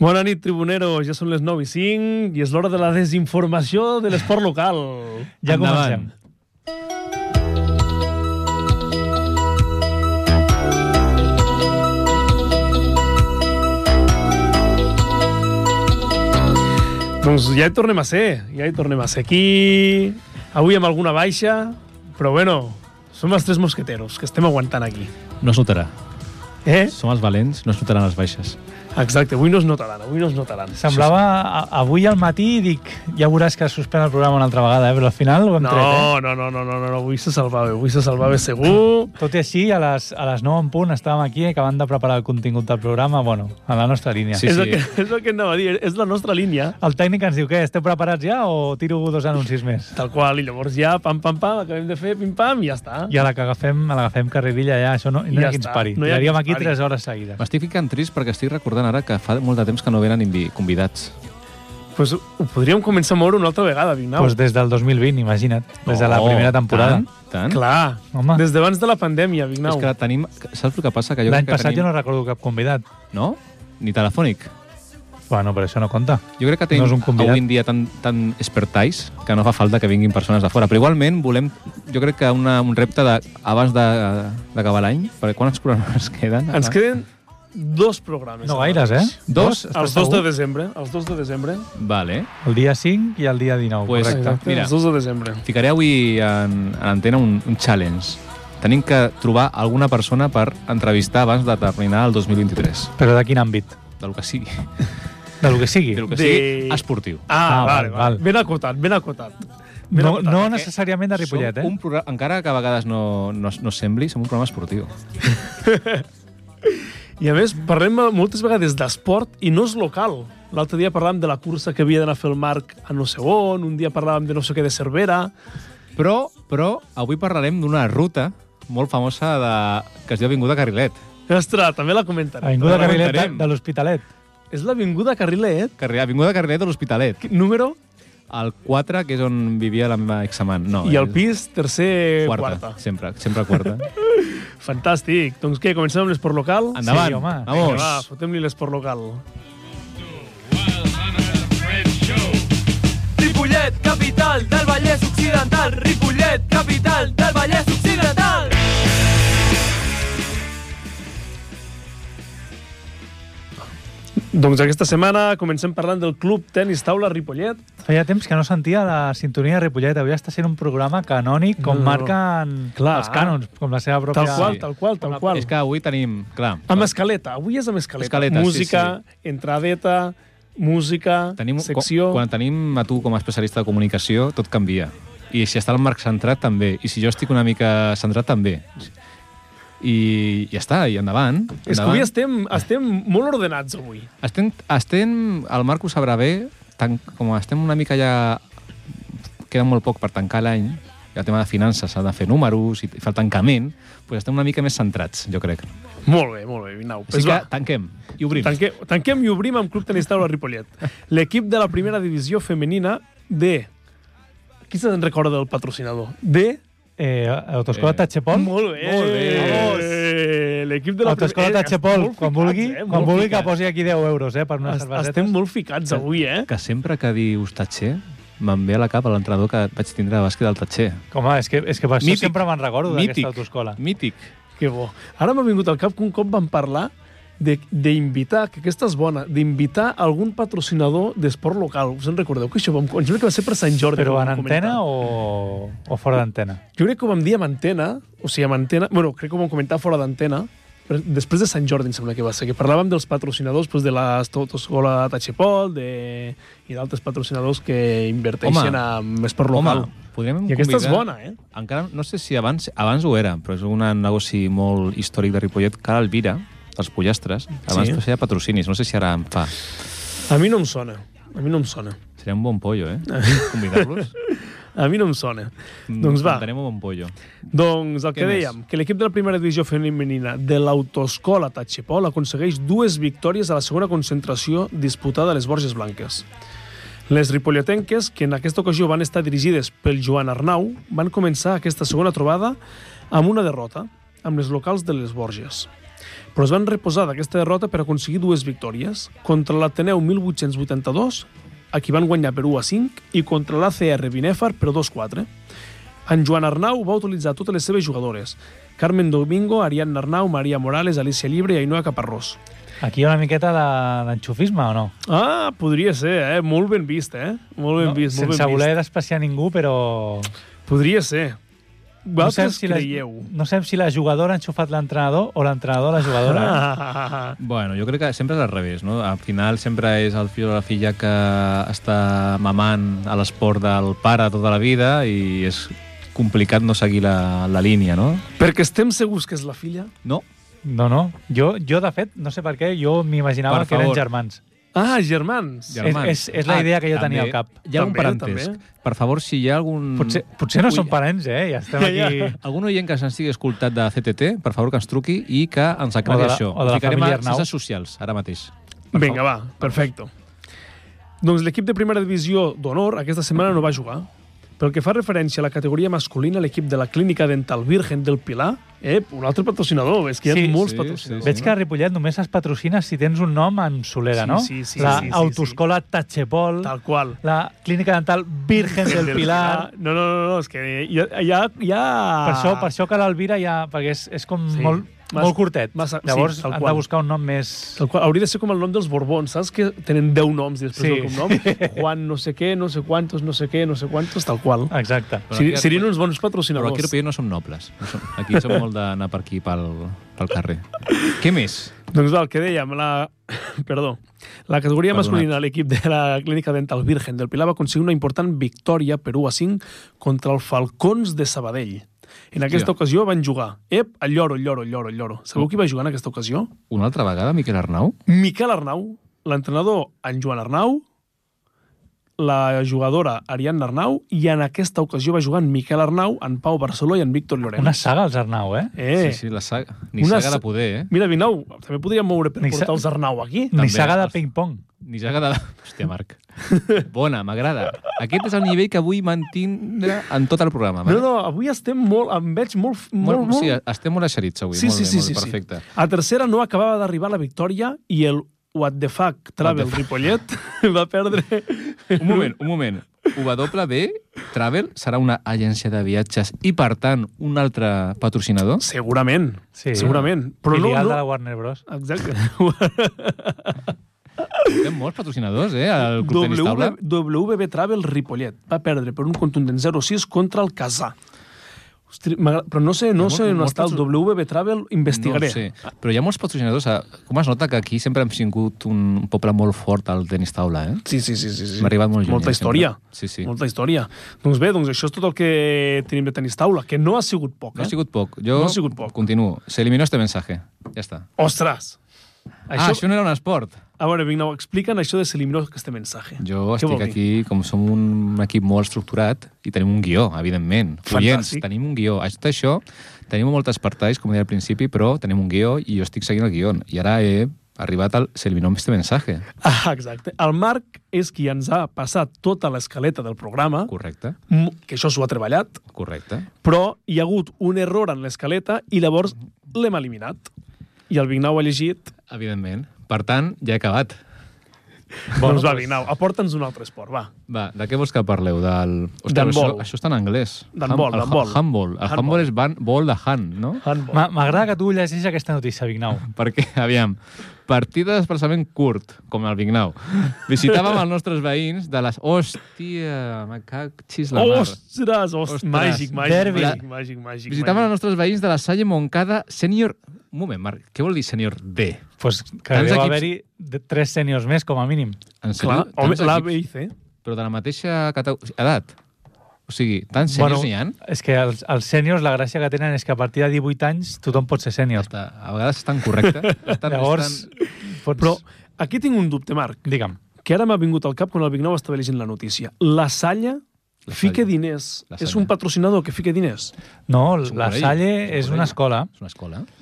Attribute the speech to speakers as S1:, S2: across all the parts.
S1: Bona nit, Tribunero. Ja són les 9 i 5 i és l'hora de la desinformació de l'esport local. Ja
S2: Endavant.
S1: comencem. Doncs ja hi tornem a ser, ja hi tornem a ser aquí, avui amb alguna baixa, però bueno, som els tres mosqueteros que estem aguantant aquí.
S2: No es notarà.
S1: Eh?
S2: Som els valents, no es notaran les baixes.
S1: Exacte, avui no es notaran, avui no es notaran.
S3: Semblava a- avui al matí i dic, ja veuràs que suspèn el programa una altra vegada, eh? però al final ho hem
S1: No, no,
S3: tret.
S1: no, no, no, no, no, avui se salvava, avui se salvava segur.
S3: Eh? Tot i així, a les, a les 9 en punt estàvem aquí eh, acabant de preparar el contingut del programa, bueno, a la nostra línia.
S2: Sí,
S1: és,
S2: sí.
S1: El que, és el que anava a dir, és la nostra línia.
S3: El tècnic ens diu, què, esteu preparats ja o tiro dos anuncis més?
S1: Tal qual, i llavors ja, pam, pam, pam, acabem de fer, pim, pam, i ja està.
S3: I a la que agafem, a l'agafem carrerilla ja, això no, no
S1: Ja
S3: hi ha qui ens
S1: està,
S3: pari.
S1: no hi ha qui
S3: Tiraríem
S1: ens
S3: aquí
S1: pari.
S3: 3 hores seguides.
S2: M'estic ficant trist perquè estic recordant ara que fa molt de temps que no venen invi- convidats.
S1: pues, ho podríem començar a moure una altra vegada, Vignau.
S3: Pues Doncs des del 2020, imagina't, des de la
S2: No,
S3: primera temporada.
S2: Oh, Tant, tant.
S1: Clar,
S3: Home.
S1: des d'abans de la pandèmia, Vignau.
S2: És que tenim... Saps el que passa? Que jo
S3: L'any
S2: crec que
S3: passat jo
S2: tenim...
S3: no recordo cap convidat.
S2: no... No? Ni telefònic.
S3: Bueno, però això no compta.
S2: Jo crec que tenim
S3: No és un convidat.
S2: avui en dia tan, tan expertais que no fa falta que vinguin persones de fora. Però igualment volem, jo crec que una, un repte de, abans de- d'acabar l'any, perquè quan els programes queden?
S1: Ens queden dos programes.
S3: Ah. No
S1: ara
S3: gaires, eh?
S1: mateix.
S2: Dos?
S3: Estàs
S1: Els dos de
S3: segur?
S1: desembre. Els dos de desembre.
S2: Vale.
S3: El dia 5 i el dia 19,
S2: Pues-
S3: correcte.
S1: Exacte,
S2: Mira.
S1: els dos de desembre.
S2: Ficaré avui en, en antena un, un challenge. Tenim que trobar alguna persona per entrevistar abans de terminar el 2023.
S3: Però de quin àmbit?
S2: Del que sigui.
S3: Del que sigui.
S2: Del que
S1: De-
S2: sigui esportiu.
S1: Ah,
S3: Ah,
S1: vale,
S3: val,
S1: vale.
S3: val.
S1: Ben acotat, ben acotat. Ben
S3: No,
S1: acotat,
S3: no
S1: perquè
S3: necessàriament de Ripollet, eh?
S2: Som un programa, encara que a vegades no, no, no sembli, som un programa esportiu.
S1: I a més, parlem moltes vegades d'esport i no és local. L'altre dia parlàvem de la cursa que havia d'anar a fer el Marc a no sé on, un dia parlàvem de no sé què de Cervera.
S2: Però, però avui parlarem d'una ruta molt famosa de, que es diu Avinguda Carrilet.
S1: Ostres, també la comentarem.
S3: Avinguda
S2: Ara
S3: Carrilet de,
S2: comentarem.
S3: de l'Hospitalet.
S1: És l'Avinguda Carrilet,
S2: Carri, Avinguda Carrilet de l'Hospitalet.
S1: número,
S2: El 4, que és on vivia la meva examant. No,
S1: i el
S2: és
S1: pis tercer
S2: Quarta,
S1: quarta.
S2: sempre, sempre quarta.
S1: Fantàstic. Doncs què, comencem amb l'esport local?
S2: Endavant,
S3: Sí, home.
S2: vamos.
S1: Vinga, va, fotem-li l'esport local.
S4: Ripollet, capital del Vallès Occidental. Ripollet, capital del Vallès Occidental.
S1: Doncs aquesta setmana comencem parlant del Club Tenis Taula Ripollet.
S3: Feia temps que no sentia la sintonia de Ripollet. Avui està sent un programa canònic com
S1: No, no.
S3: marquen
S1: Clar.
S3: els cànons, com la seva pròpia...
S1: Tal qual,
S2: Sí.
S1: tal qual, tal qual.
S2: és que avui tenim, clar,
S1: Amb escaleta, avui és amb escaleta.
S2: Escaleta, sí,
S1: música, entradeta, música,
S2: tenim,
S1: secció...
S2: quan tenim a tu com a especialista de comunicació, tot canvia. I si està el Marc centrat, també. I si jo estic una mica centrat, també. I ja està, i endavant.
S1: És que
S2: endavant.
S1: avui estem, estem molt ordenats, avui.
S2: Estem, estem, el Marc ho sabrà bé, tan, com estem una mica ja... Queda molt poc per tancar l'any, i el tema de finances, s'ha de fer números i fa el tancament, doncs estem una mica més centrats, jo crec.
S1: Molt bé, molt bé, Vinau.
S2: Així que tanquem i obrim.
S1: Tanque, tanquem i obrim amb Club Tenis Taula Ripollet. L'equip de la primera divisió femenina de... Qui se'n recorda del patrocinador? De...
S3: Eh, Autoscola
S2: Eh.
S3: eh. Tachepol.
S1: Molt bé!
S2: Molt Eh,
S1: bé! L'equip de la
S3: Autoscola
S1: primera...
S3: Tachepol,
S1: molt
S3: quan
S1: ficats,
S3: vulgui,
S1: eh?
S3: quan
S1: Molt
S3: vulgui que
S1: ficats.
S3: posi aquí 10 euros eh, per unes
S1: Est-
S3: cervesetes.
S1: Estem molt ficats avui, eh?
S2: Que sempre que dius Tatxer, me'n ve a la cap l'entrenador que vaig tindre de bàsquet del Tatxer.
S3: Home, ah, és que, és que per això
S2: Mític.
S3: sempre me'n recordo
S2: Mític.
S3: d'aquesta autoscola.
S2: Mític.
S1: Que bo. Ara m'ha vingut al cap que un cop vam parlar de- d'invitar, que aquesta és bona, d'invitar algun patrocinador d'esport local. Us en recordeu que això vam, em sembla que va ser per Sant Jordi.
S3: Però
S1: que ho
S3: en
S1: vam
S3: antena
S1: comentar.
S3: o, o fora d'antena?
S1: Jo crec que ho vam dir amb antena, o sigui, amb antena... Bueno, crec que ho vam comentar fora d'antena, però després de Sant Jordi em sembla que va ser, que parlàvem dels patrocinadors doncs, de l'Estotoscola Tachepol de... i d'altres patrocinadors que inverteixen Home. en esport local.
S2: Home, podríem
S1: I aquesta és
S2: convidar-
S1: bona, eh?
S2: Encara no sé si abans, abans ho era, però és un negoci molt històric de Ripollet, que ara el Vira, els pollastres, abans
S1: Sí.
S2: sí. feia patrocinis, no sé si ara en fa.
S1: A mi no em sona, a mi no em sona.
S2: Seria un bon pollo, eh? Convidar-los.
S1: A mi no em sona.
S3: Mm,
S1: doncs va.
S2: Tenim un bon pollo.
S1: Doncs el
S2: Què
S1: que
S2: més?
S1: dèiem, que l'equip de la primera divisió femenina de l'Autoscola Tachepol aconsegueix dues victòries a la segona concentració disputada a les Borges Blanques. Les ripolletenques, que en aquesta ocasió van estar dirigides pel Joan Arnau, van començar aquesta segona trobada amb una derrota amb les locals de les Borges. però es van reposar d'aquesta derrota per aconseguir dues victòries, contra l'Ateneu 1882, a qui van guanyar per 1 a 5, i contra l'ACR Binèfar per 2 a 4. En Joan Arnau va utilitzar totes les seves jugadores, Carmen Domingo, Ariadna Arnau, Maria Morales, Alicia Libre i Ainhoa Caparrós.
S3: Aquí hi ha una miqueta de- d'enxufisme, o no?
S1: Ah, podria ser, eh? Molt ben vist, eh? Molt ben
S3: no?
S1: vist, molt
S3: Sense
S1: ben
S3: voler despreciar ningú, però...
S1: vist. Podria ser. Vosaltres
S3: si la,
S1: creieu.
S3: no sé si la jugadora ha enxufat l'entrenador o l'entrenador a la jugadora. Ah.
S1: Ah,
S2: Bueno, jo crec que sempre és al revés, no? Al final sempre és el fill o la filla que està mamant a l'esport del pare tota la vida i és complicat no seguir la, la línia, no?
S1: perquè estem segurs que és la filla?
S2: No.
S3: No, no. Jo, jo, de fet, no sé per què, jo m'imaginava
S2: Per
S3: que eren
S2: favor.
S3: germans.
S1: Ah, germans.
S3: Ja. És- és- és la idea que jo tenia al cap.
S2: Hi
S1: ah,
S2: ha
S1: També,
S2: un parentesc.
S1: també.
S2: Per favor, si hi ha algun...
S3: Potser, potser no
S2: Ui.
S3: són parents, eh? Ja estem
S1: Mm. Ja,
S3: aquí...
S1: ja.
S2: Algun oient que se'ns estigui escoltat de CTT, per favor, que ens truqui i que ens aclari
S3: O de la-
S2: això.
S3: o de la
S2: Ho ficarem
S3: família
S2: a
S3: Arnau.
S2: xarxes socials, ara mateix.
S1: Vinga, va, perfecte. Doncs l'equip de primera divisió d'honor aquesta setmana no va jugar. Pel que fa referència a la categoria masculina, l'equip de la Clínica Dental Virgen del Pilar, eh, un altre patrocinador, és que hi ha
S3: Sí,
S1: molts
S2: sí,
S1: patrocinadors.
S2: sí,
S3: Veig que a Ripollet només es patrocina si tens un nom en solera,
S1: Sí,
S3: no?
S1: sí, sí,
S3: la
S1: sí, sí,
S3: autoscola Tachepol,
S1: Tal Ah. qual.
S3: la clínica dental Virgen del Pilar...
S1: No, no, no, no és que ja... ja, ja...
S3: Per això, per això que l'Alvira ja... Perquè és, és com
S1: Ah. Sí.
S3: sí. molt,
S1: Mas-
S3: molt curtet.
S1: massa- sí,
S3: Llavors
S1: tal
S3: han
S1: qual.
S3: de buscar un nom més...
S1: El qual, hauria de ser com el nom dels Borbons, saps? Que tenen 10 noms i després sí.
S3: Sí.
S1: el cognom. Juan no sé què, no sé quantos, no sé què, no sé quantos, tal qual.
S3: Exacte.
S2: Però
S1: Seri-
S2: aquí-
S1: Serien uns bons
S2: Però
S1: patrocinadors.
S2: aquí a Ripollet no som nobles. No som, aquí som molt d'anar per aquí, pel, pel carrer. Què més?
S1: Doncs va, el que dèiem, la... Perdó. La categoria
S2: Perdonat.
S1: masculina, l'equip de la Clínica Dental Virgen del Pilar va aconseguir una important victòria per 1 a 5 contra el Falcons de Sabadell. En aquesta
S2: Hòstia.
S1: ocasió van jugar. Ep, el lloro, el lloro, el lloro, el lloro. Sabeu qui va jugar en aquesta ocasió?
S2: Una altra vegada, Miquel Arnau?
S1: Miquel Arnau, l'entrenador en Joan Arnau, la jugadora Ariadna Arnau, i en aquesta ocasió va jugar en Miquel Arnau, en Pau Barceló i en Víctor Llorens.
S3: Una saga, els Arnau, eh?
S1: Eh,
S2: Sí, sí, la saga. Ni
S1: Una
S2: saga
S1: sa-
S2: de poder, eh?
S1: Mira, Vinau, també podríem moure per
S3: Ni sa-
S1: portar els Arnau aquí.
S2: També,
S3: Ni saga de
S2: els-
S3: ping-pong.
S2: Ni saga de... Hòstia, Marc. Bona, m'agrada. Aquest és el nivell que vull mantindre en tot el programa.
S1: No,
S2: Ah, vale?
S1: no, avui estem molt... Em veig molt... molt, molt...
S2: Sí, estem molt eixerits avui.
S1: sí,
S2: molt
S1: sí,
S2: bé,
S1: sí,
S2: molt
S1: sí, sí.
S2: perfecte.
S1: A tercera no acabava d'arribar la victòria i el What the fuck Travel
S2: fuck.
S1: Ripollet va perdre...
S2: Un moment, un moment. UW Travel serà una agència de viatges i, per tant, un altre patrocinador?
S1: Segurament,
S3: Sí.
S1: segurament. Però no,
S3: Filial de la
S1: no...
S3: Warner Bros.
S1: E Exacte.
S2: Tenim molts patrocinadors, eh? El Club Tenis Taula.
S1: W- WB Travel Ripollet va perdre per un contundent 0-6 contra el Casà. Ostres, m'agrada- però no sé, no
S2: Hi ha
S1: sé
S2: molt-
S1: on
S2: molts
S1: està el
S2: patrocin-
S1: WB Travel, investigaré.
S2: No ho sé, però hi ha molts patrocinadors. eh? Com es nota que aquí sempre hem sigut un poble molt fort al tenis taula, eh?
S1: Sí, sí, sí. sí, sí.
S2: Hem arribat molt lluny,
S1: Molta
S2: eh,
S1: història.
S2: sempre. Sí, sí.
S1: Molta història. Doncs bé, doncs això és tot el que tenim de tenis taula, que no ha sigut poc,
S2: No
S1: eh?
S2: ha sigut poc. Jo
S1: No ha sigut poc.
S2: Continuo. Se eliminó este mensaje. Ja està.
S1: Ostres!
S2: Això... Ah,
S1: Això...
S2: això no era un esport.
S1: A veure, Vignau, explica'ns això de s'eliminar aquest mensatge.
S2: Jo
S1: Què vol
S2: estic
S1: dir?
S2: aquí, com som un equip molt estructurat, i tenim un guió, evidentment.
S1: Fantàstic.
S2: Oients, tenim un guió. A Tot això, tenim molt espartalls, com deia al principi, però tenim un guió i jo estic seguint el guió. I ara he arribat al se eliminó este mensaje.
S1: Ah, exacte. El Marc és qui ens ha passat tota l'escaleta del programa,
S2: Correcte,
S1: m- que això s'ho ha treballat,
S2: correcte.
S1: però hi ha hagut un error en l'escaleta i llavors l'hem eliminat. I el Vignau ha llegit...
S2: Evidentment. Per tant, ja he acabat.
S1: Bueno, doncs va, Vignau, aporta'ns un altre esport, va.
S2: Va, de què vols que parleu? Del...
S1: D'handbol.
S2: això, això està en anglès.
S1: D'handbol,
S2: Ham- el
S1: d'handbol.
S2: ha- Handball. El
S1: Handball.
S2: handball és ban, ball de hand, no?
S1: Handball.
S3: M'a- M'agrada que tu llegis aquesta notícia, Vignau.
S2: Perquè, aviam, partida d'esplaçament curt, com el Vignau. Visitàvem els nostres veïns de les... Hòstia, me cagxis la mar.
S1: Ostres, ostres,
S2: Ostres,
S1: màgic, màgic,
S3: derbi.
S1: màgic, màgic, màgic.
S2: Visitàvem els
S1: màgic.
S2: nostres veïns de la Salle Moncada Senior... Un moment, Marc, què vol dir Senior D?
S3: Pues que
S2: Tants
S3: deu
S2: equips-
S3: haver-hi de- tres sèniors més, com a mínim.
S2: En
S1: Clar, home,
S2: sèrio, tants equips,
S1: la eh? B i C.
S2: Però de la mateixa cate- edat. O sigui, tants seniors n'hi ha?
S3: és que els, els sèniors, la gràcia que tenen és que a partir de 18 anys tothom pot ser sènior.
S2: Està, a vegades estan correctes. Estan,
S3: Llavors,
S2: estan...
S3: pots...
S1: Però aquí tinc un dubte, Marc,
S3: Digue'm.
S1: que ara m'ha vingut al cap quan el Vignau estava llegint la notícia. La Salla
S2: La
S1: fica
S2: Salle.
S1: diners.
S2: La
S1: És
S2: Salle.
S1: un patrocinador que fica diners.
S3: No,
S2: un
S3: la
S2: col·legi, és
S3: Salle
S2: un
S3: és
S2: col·legi.
S3: una escola.
S2: És una escola. eh?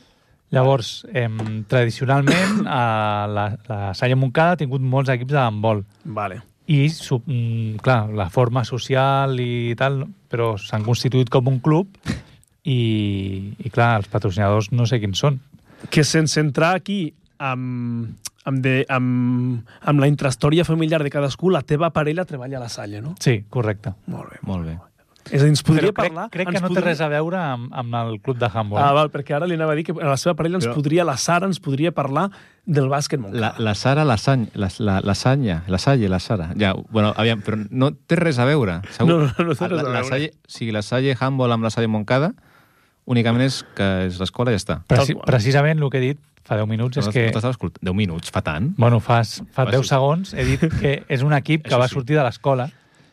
S3: Llavors, em, tradicionalment, a la, la Salle Montcada ha tingut molts equips d'handbol.
S1: Vale.
S3: I, su- mm, clar, la forma social i tal, però s'han constituït com un club i, i clar, els patrocinadors no sé quins són.
S1: que sense entrar aquí amb, amb, de, amb, amb la intrahistòria familiar de cadascú, la teva parella treballa a la Salle, no?
S3: Sí, correcte.
S1: Molt bé.
S2: Molt bé.
S1: És a dir, ens podria
S3: Però crec,
S1: parlar...
S3: crec que
S1: ens
S3: no té
S1: podria...
S3: res a veure amb, amb el club de handball.
S1: Ah, val, perquè ara li anava a dir que a la seva parella ens
S2: Però-
S1: podria, la Sara ens podria parlar del bàsquet
S2: La,
S1: Montcada.
S2: la Sara, la, Sany, la, la, la Sanya, la Salle, la Sara. Ja, bueno, aviam, però no té res a veure. Segur.
S1: No, no, no té res a
S2: la, la
S1: veure.
S2: Salle, si la Salle Humboldt amb la Salle Moncada, únicament és que és l'escola i ja està.
S1: Tal
S3: Preci
S1: qual.
S3: precisament el que he dit fa 10 minuts és
S2: Doncs No
S3: que...
S2: t'estava escoltant. 10 minuts, fa tant.
S3: Bueno, fa, fa
S2: Va,
S3: 10
S2: sí.
S3: segons he dit que és un equip que
S2: Això
S3: va
S2: sí.
S3: sortir de l'escola.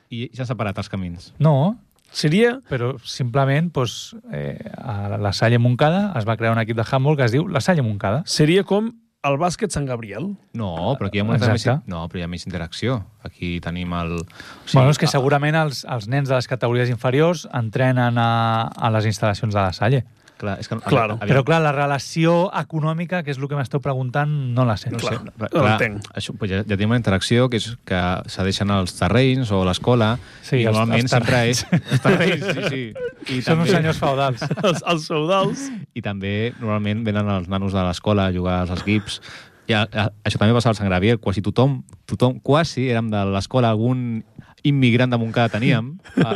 S2: I ja s'han separat els camins.
S3: No,
S1: Seria...
S3: però simplement doncs, eh, a la Salle Moncada es va crear un equip de handball que es diu la Salle Moncada.
S1: Seria com el bàsquet Sant Gabriel.
S2: No, però aquí hi ha molta més...
S3: Exacte.
S2: No, però hi ha més interacció. Aquí tenim el... O ah,
S3: Sí, bueno, és que
S2: a-
S3: segurament els, els nens de les categories inferiors entrenen a, a les instal·lacions de la Salle.
S2: Clar, és que... no-
S1: Claro.
S2: aviam,
S3: Però, clar, la relació econòmica, que és el que m'esteu preguntant, no la sé.
S1: No
S3: No
S1: sé.
S3: sé.
S1: no l'entenc.
S2: Això, pues ja, ja tenim una interacció que és que cedeixen els terrenys o l'escola
S3: Sí,
S2: i
S3: els-
S2: normalment
S3: els
S2: sempre és... Els terrenys, sí, sí. I
S3: Són uns senyors feudals.
S1: els, els feudals.
S2: I també normalment venen els nanos de l'escola a jugar als equips. I a, a, això també passava al Sant Gravier, quasi tothom, tothom, quasi érem de l'escola, algun immigrant de Montcada teníem, ah,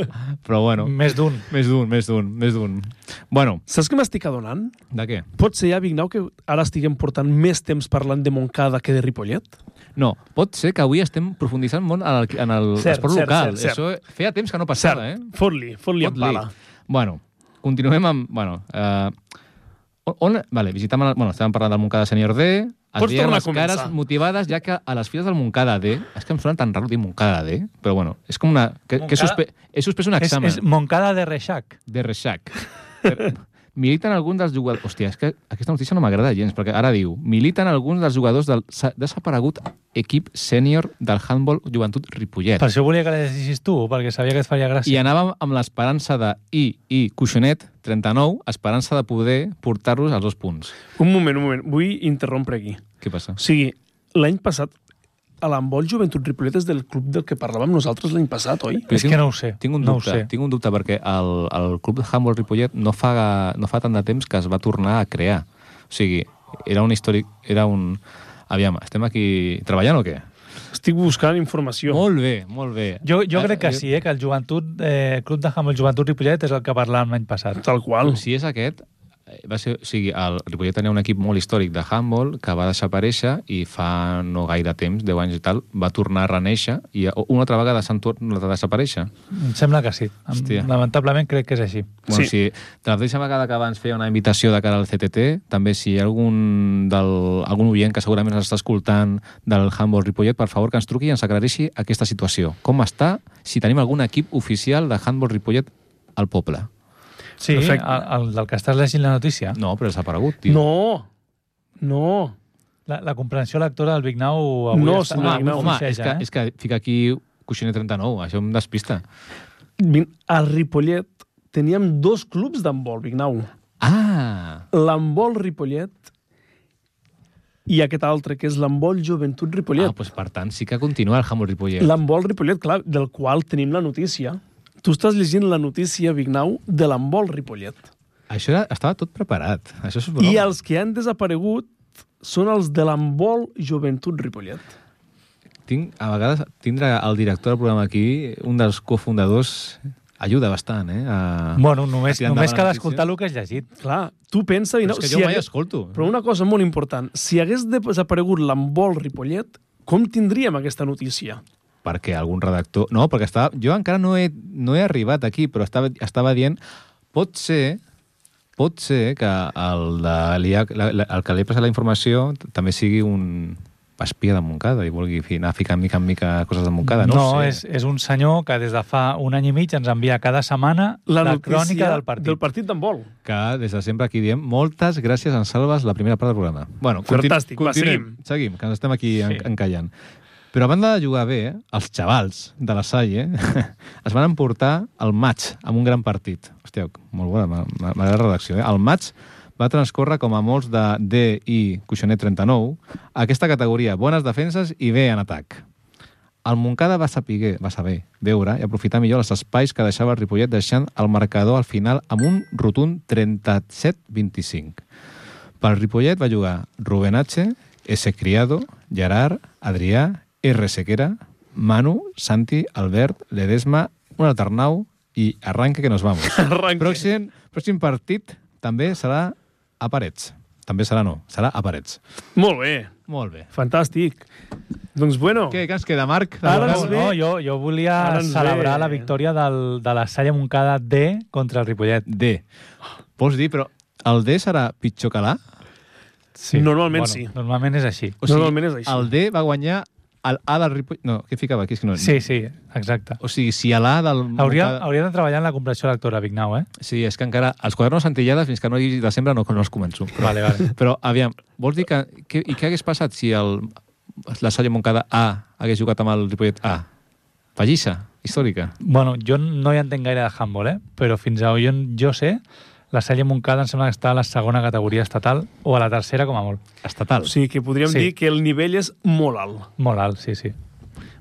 S2: però bueno,
S3: Més d'un.
S2: més d'un, més d'un, més d'un. Bueno,
S1: Saps què m'estic adonant?
S2: de què?
S1: Pot ser ja, Vignau, que ara estiguem portant més temps parlant de Montcada que de Ripollet?
S2: No, pot ser que avui estem profunditzant molt en el, en el
S1: Cert,
S2: esport
S1: cert,
S2: local.
S1: cert, cert.
S2: Això feia temps que no passava, eh?
S1: fot-li, fot-li en
S2: Pot
S1: pala.
S2: dir. Bueno, continuem amb... Bueno, eh, on, on, vale, visitem... El, bueno, estàvem parlant del Moncada Senior D, es
S1: Pots
S2: veien
S1: tornar a
S2: les
S1: començar.
S2: cares motivades, ja que a les files del Moncada D... És que em sona tan raro dir Moncada D, però bueno, és com una... Que, que he,
S3: Montcada-
S2: suspe, he suspès un
S3: És,
S2: examen
S3: és Moncada de Reixac.
S2: de Reixac. Militen alguns dels jugadors... Hòstia, és que aquesta notícia no m'agrada gens, perquè ara diu militen alguns dels jugadors del sa- desaparegut equip sènior del handball Joventut Ripollet.
S3: Per això volia que la llegissis tu, perquè sabia que et faria gràcia.
S2: I anàvem amb l'esperança de I i Cuixonet, 39, esperança de poder portar-los als dos punts.
S1: Un moment, un moment. Vull interrompre aquí.
S2: Què passa?
S1: O sigui, l'any passat, a l'embol Joventut Ripollet és del club del que parlàvem nosaltres l'any passat, oi?
S3: És que no ho sé,
S2: Tinc un
S3: no ho
S2: dubte,
S3: sé.
S2: tinc un dubte perquè el, el club de handball Ripollet no fa, no fa tant de temps que es va tornar a crear. O sigui, era un històric... Era un... Aviam, estem aquí treballant o què?
S1: Estic buscant informació.
S2: Molt bé, molt bé.
S3: Jo, jo crec que
S2: Eh,
S3: sí, eh, que el Joventut, eh, Club de Ham, el Joventut Ripollet és el que parlàvem l'any passat.
S1: Tal qual.
S2: Si és aquest, eh, va ser, o sigui, el Ripollet tenia un equip molt històric de handball que va desaparèixer i fa no gaire temps, 10 anys i tal, va tornar a reneixer i o- una altra vegada s'han tornat a desaparèixer.
S3: Em sembla que sí. Em-
S2: Hòstia.
S3: Lamentablement crec que és així.
S2: Bueno,
S1: Sí.
S2: sí. si, de la mateixa vegada que abans feia una invitació de cara al CTT, també si hi ha algun, del, algun oient que segurament ens està escoltant del handball Ripollet, per favor que ens truqui i ens aclareixi aquesta situació. Com està si tenim algun equip oficial de handball Ripollet al poble?
S3: Sí, el,
S1: Perfecte.
S3: el, del que estàs llegint la notícia.
S2: No, però s'ha aparegut, tio.
S1: No! No!
S3: La, la comprensió lectora del Big Now avui
S1: No,
S3: està,
S1: senyor
S2: Home,
S1: Big
S3: avui
S1: Now.
S2: home, és,
S3: fluixeja,
S2: que,
S3: eh?
S2: és que fica aquí Cuixiner 39, això em despista.
S1: Vin- A Ripollet teníem dos clubs d'handbol, Vignau.
S2: Ah!
S1: L'handbol Ripollet i aquest altre, que és l'handbol Joventut
S2: Ah,
S1: Ripollet.
S2: doncs per tant, sí que continua el Hammer Ripollet. La...
S1: L'embol Ripollet, clar, del qual tenim la notícia. Tu estàs llegint la notícia, Vignau, de l'embol Ripollet.
S2: Això era, estava tot preparat. Això és
S1: I
S2: broma.
S1: els que han desaparegut són els de l'embol Joventut Ripollet.
S2: Tinc, a vegades tindre el director del programa aquí, un dels cofundadors, ajuda bastant, eh? A...
S3: Bueno, només,
S2: tirar endavant
S3: només
S2: la
S3: cal
S2: notícia.
S3: escoltar el que has llegit.
S1: Clar, tu pensa...
S2: Però
S1: Vignau,
S2: és que jo mai
S1: hagués-
S2: escolto. eh?
S1: Però una cosa molt important, si hagués desaparegut l'embol Ripollet, com tindríem aquesta notícia?
S2: Perquè algun redactor... No, perquè estava... jo encara no he, no he arribat aquí, però estava, estava dient... Pot ser pot ser que el, de l'IAC, la, la, el que li ha passat la informació t- també sigui un espia de Montcada i vulgui fi- anar ficant mica en mica coses de Montcada. No, ho sé.
S3: és, és un senyor que des de fa un any i mig ens envia cada setmana la, la
S1: notícia
S3: crònica del partit.
S1: Del partit d'handbol.
S2: que des de sempre aquí diem moltes gràcies, en Salves, la primera part del programa. Bueno, continu-
S1: Fantàstic, va,
S2: continuem. Seguim, que ens estem aquí sí. encallant. Però a banda de jugar bé, els xavals de la Salle es van emportar el maig amb un gran partit. Hòstia, molt bona, m'a- m'a- m'agrada la redacció. Eh? El maig va transcórrer com a molts de D i Cuixonet 39, aquesta categoria, bones defenses i bé en atac. El Moncada va saber, va saber veure i aprofitar millor els espais que deixava el Ripollet deixant el marcador al final amb un rotund 37-25. Pel Ripollet va jugar Rubén H, S. Criado, Gerard, Adrià, R. Sequera, Manu, Santi, Albert, Ledesma, un alternau i arranque que nos vamos.
S1: Arranque.
S2: Pròxim, pròxim partit també serà a Parets. També serà no, serà a Parets.
S1: Molt bé,
S2: Molt bé.
S1: fantàstic. Doncs bueno,
S2: Què, què ens queda, Marc?
S1: Ara ens
S3: No, no,
S1: ve-
S3: jo, jo volia
S1: Ara ens
S3: celebrar
S1: ve.
S3: la victòria del, de la Salla Moncada D contra el Ripollet.
S2: D. Vols dir, però el D serà pitjor que l'A?
S3: Sí.
S1: Normalment sí.
S3: Normalment és així.
S2: O sigui,
S1: Normalment és així.
S2: El D va guanyar el A del Ripoll... No, què ficava aquí? És que no...
S3: Sí, sí, exacte.
S2: O sigui, si a l'A del...
S3: Hauria,
S2: Montcada-
S3: hauria de treballar en la compressió lectora, Vignau, eh?
S2: Sí, és que encara... Els quadernos antillades, fins que no hi desembre, no, no els començo. Però,
S3: Vale, vale.
S2: però aviam, vols dir que... que I què hagués passat si el, la Salle Moncada A hagués jugat amb el Ripollet A? Pallissa, històrica.
S3: Bueno, jo no hi entenc gaire de handball, eh? però fins a on jo, jo sé, la Salla Moncada em sembla que està a la segona categoria estatal o a la tercera, com a molt.
S2: Estatal.
S1: O sigui que podríem
S3: Sí.
S1: sí. dir que el nivell és molt alt,
S3: Molt alt, sí, sí.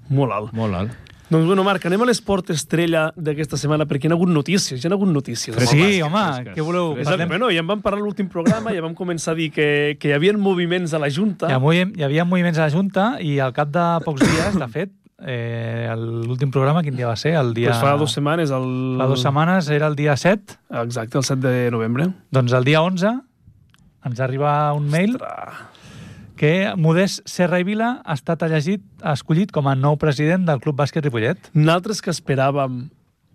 S1: molt alt.
S2: Molt alt.
S1: Doncs bueno, Marc, anem a l'esport estrella d'aquesta setmana, perquè hi ha hagut notícies, hi ha hagut notícies.
S3: Però
S1: Home,
S3: sí,
S2: bàsquet,
S3: home,
S2: fresques.
S3: què voleu?
S1: És el,
S3: Parlem...
S1: bueno, ja en vam parlar a l'últim programa, ja vam començar a dir que, que hi havia moviments a la Junta.
S3: Hi havia, hi havia moviments a la Junta i al cap de pocs dies, de fet, eh, l'últim programa, quin dia va ser? El dia...
S1: Pues fa dues setmanes. El...
S3: Fa dues setmanes era el dia 7,
S1: Exacte, el 7 de novembre.
S3: doncs el dia 11 ens arriba un mail que Modest Serra i Vila ha estat elegit, escollit com a nou president del Club Bàsquet Ripollet.
S1: Nosaltres que esperàvem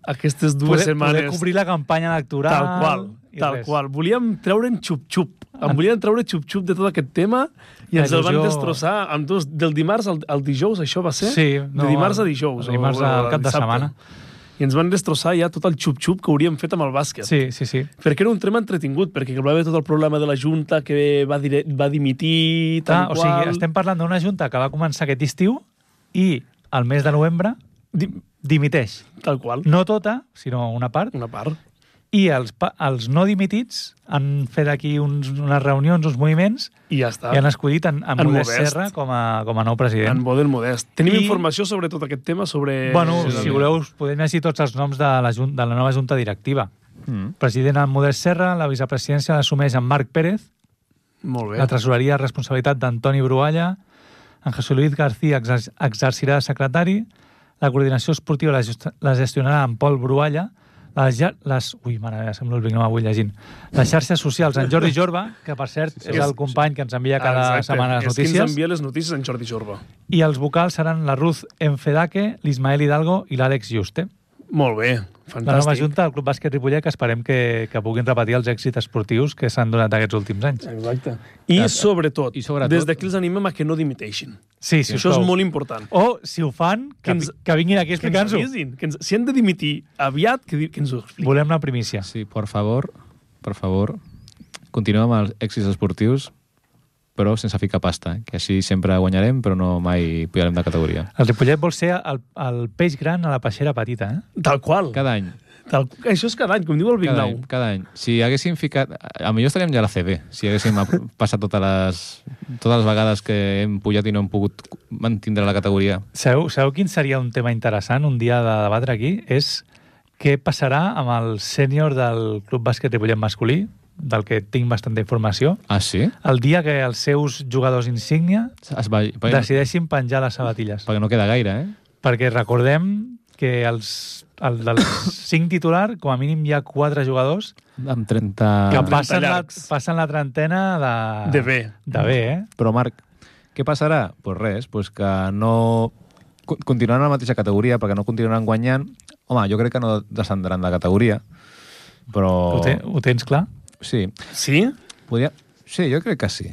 S1: aquestes dues
S3: Poder,
S1: setmanes...
S3: poder cobrir la campanya electoral.
S1: Tal qual,
S3: i
S1: tal
S3: res.
S1: qual. Volíem treure'n xup-xup. Em volien treure xup-xup de tot aquest tema i
S3: La
S1: ens el van
S3: il·lusió.
S1: destrossar amb dos, del dimarts al, al dijous, això va ser?
S3: Sí,
S1: de dimarts a dijous.
S3: De dimarts
S1: o- o
S3: al cap de
S1: dissabte.
S3: setmana.
S1: I ens van destrossar ja tot el xup-xup que hauríem fet amb el bàsquet.
S3: Sí, sí, sí.
S1: Perquè era un tema entretingut, perquè hi va haver tot el problema de la Junta que va, dire... va dimitir,
S3: Ah,
S1: tal
S3: o
S1: qual...
S3: sigui, estem parlant d'una junta que va començar aquest estiu i al mes de novembre
S1: Dim-
S3: dimiteix.
S1: Tal qual,
S3: No tota, sinó una part.
S1: una part.
S3: I els, pa- els no dimitits han fet aquí uns, unes reunions, uns moviments,
S1: I ja està.
S3: i han escollit en, en,
S1: En
S3: Modest
S1: Modest.
S3: Serra com a, com a nou
S1: En
S3: president.
S1: Model Modest. Tenim
S3: I-
S1: informació sobre tot aquest tema, sobre...
S3: bueno,
S1: sobre-
S3: si voleu, us podem llegir tots els noms de la, jun- de la nova junta directiva.
S2: Mm.
S3: President en Modest Serra, la vicepresidència l'assumeix en Marc Pérez,
S1: Molt bé.
S3: la tresoreria és responsabilitat d'Antoni Brualla, en José Luis García exer exercirà de secretari, la coordinació esportiva la, gest- la gestionarà en Pol Brualla, les, ja- les... Ui, mare meva, sembla el Vignau avui llegint. Les xarxes socials, en Jordi Jorba, que per cert és el company que ens envia cada
S1: Exacte.
S3: setmana les
S1: És qui ens
S3: notícies,
S1: envia les notícies en Jordi Jorba.
S3: i els vocals seran la Ruth Enfedaque, l'Ismael Hidalgo i l'Àlex Juste.
S1: Molt bé,
S3: La nova
S1: fantàstic.
S3: junta del Club Bàsquet Ripollet que esperem que, que puguin repetir els èxits esportius que s'han donat aquests últims anys.
S1: Exacte. I sobretot,
S2: I sobretot-
S1: des d'aquí els animem a que no dimiteixin.
S3: Sí, si
S1: Això és molt important.
S3: O, si ho fan, que,
S1: Que ens-
S3: que vinguin aquí
S1: Que ens
S3: explicant-s'ho.
S1: avisin. Que ens, si han de dimitir aviat, que, di- que ens ho expliquin.
S3: Volem la primícia.
S2: Sí, por favor, por favor, continuem amb els èxits esportius, però sense ficar pasta, eh? que així sempre guanyarem, però no mai pujarem de categoria.
S3: El Ripollet vol ser el, el peix gran a la peixera petita, eh?
S1: Tal qual.
S2: Cada any,
S1: Tal, això és cada any, com diu el
S2: cada
S1: Vignau.
S2: any, cada any. Si haguéssim ficat... eh, A millor estaríem ja a la CB, si haguéssim ap- passat totes les, totes les vegades que hem pujat i no hem pogut mantindre la categoria.
S3: Sabeu, sabeu quin seria un tema interessant un dia de debatre aquí? És què passarà amb el sènior del Club Bàsquet Ripollet masculí, del que tinc bastanta informació,
S2: Ah, sí?
S3: el dia que els seus jugadors insígnia
S2: Es va, perquè,
S3: decideixin penjar les sabatilles.
S2: perquè no queda gaire, eh?
S3: Perquè recordem que els, el dels cinc titular, com a mínim hi ha quatre jugadors
S2: Amb
S3: que
S2: 30...
S3: passen la,
S1: llargs.
S3: passen la trentena de...
S1: Ah. De bé.
S3: De bé, eh?
S2: Però, Marc, què passarà? Doncs pues res, pues que no... co- Continuaran a la mateixa categoria, perquè no continuaran guanyant. Home, jo crec que no descendran de categoria, però...
S3: Ho, te,
S2: Oh.
S3: ho tens clar?
S2: Sí,
S1: Sí?
S2: podria... Sí, jo crec que sí.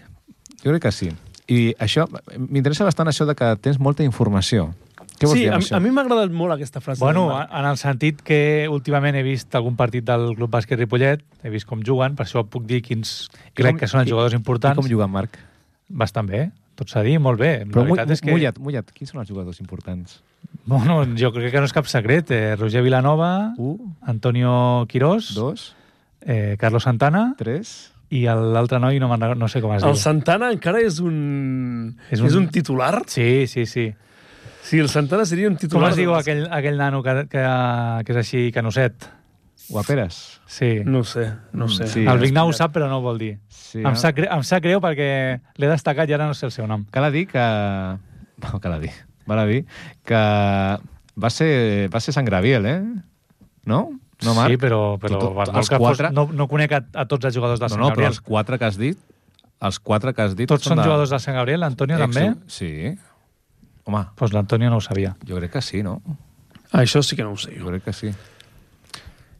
S2: Jo crec que sí. I això... M'interessa bastant això de que tens molta informació. Què vols
S1: sí,
S2: dir
S1: a,
S2: amb
S1: mi-
S2: això?
S1: a mi m'ha agradat molt aquesta frase.
S3: Bueno,
S1: del Marc.
S3: en el sentit que últimament he vist algun partit del Club Bàsquet Ripollet, he vist com juguen, per això puc dir quins crec
S2: com-
S3: que són els
S2: i-
S3: jugadors
S2: I
S3: importants.
S2: com juguen, Marc?
S3: Bastant bé, tot s'ha dit, molt bé.
S2: Però
S3: la
S2: mu
S3: veritat és que...
S2: mullat, mullat, quins són els jugadors importants?
S3: Bueno, jo crec que no és cap secret. Eh, Roger Vilanova,
S2: Un,
S3: Antonio Quirós,
S2: Uh. dos,
S3: eh, Carlos Santana
S2: tres...
S3: i l'altre noi, no, me'n recordo- no sé com es diu.
S1: el Santana encara és un...
S3: ah, És
S1: És
S3: un-
S1: un, és un titular?
S3: Sí, sí, sí.
S1: Sí, el Santana seria un
S3: Com
S1: titular.
S3: es diu
S1: de-
S3: aquell, aquell nano que, que, que és així, canoset?
S2: Guaperes.
S3: Sí.
S1: No ho sé, no ho sé.
S2: Sí.
S3: el Vignau ho
S1: explicat.
S3: sap, però no ho vol dir.
S2: Sí, eh?
S3: em,
S2: no?
S3: sap greu, em sap greu perquè l'he destacat i ara no sé el seu nom.
S2: Cal a dir que... Bueno, cal a dir. Val a dir que va ser, va ser Sant Graviel, eh? No? No, Marc?
S3: sí, però, però
S2: Tot-
S3: per
S2: els
S3: molt que fos-
S2: quatre-
S3: no, no conec a, a tots els jugadors del
S2: No,
S3: Sant
S2: no, però
S3: Gabriel.
S2: els quatre que has dit, els quatre que has dit...
S3: Tots són jugadors del Sant Gabriel, l'Antonio també? Doncs
S2: Sí. Home,
S3: pues l'Antonio no ho sabia.
S2: jo crec que sí, no?
S1: Això sí que no ho sé.
S2: Jo crec que sí.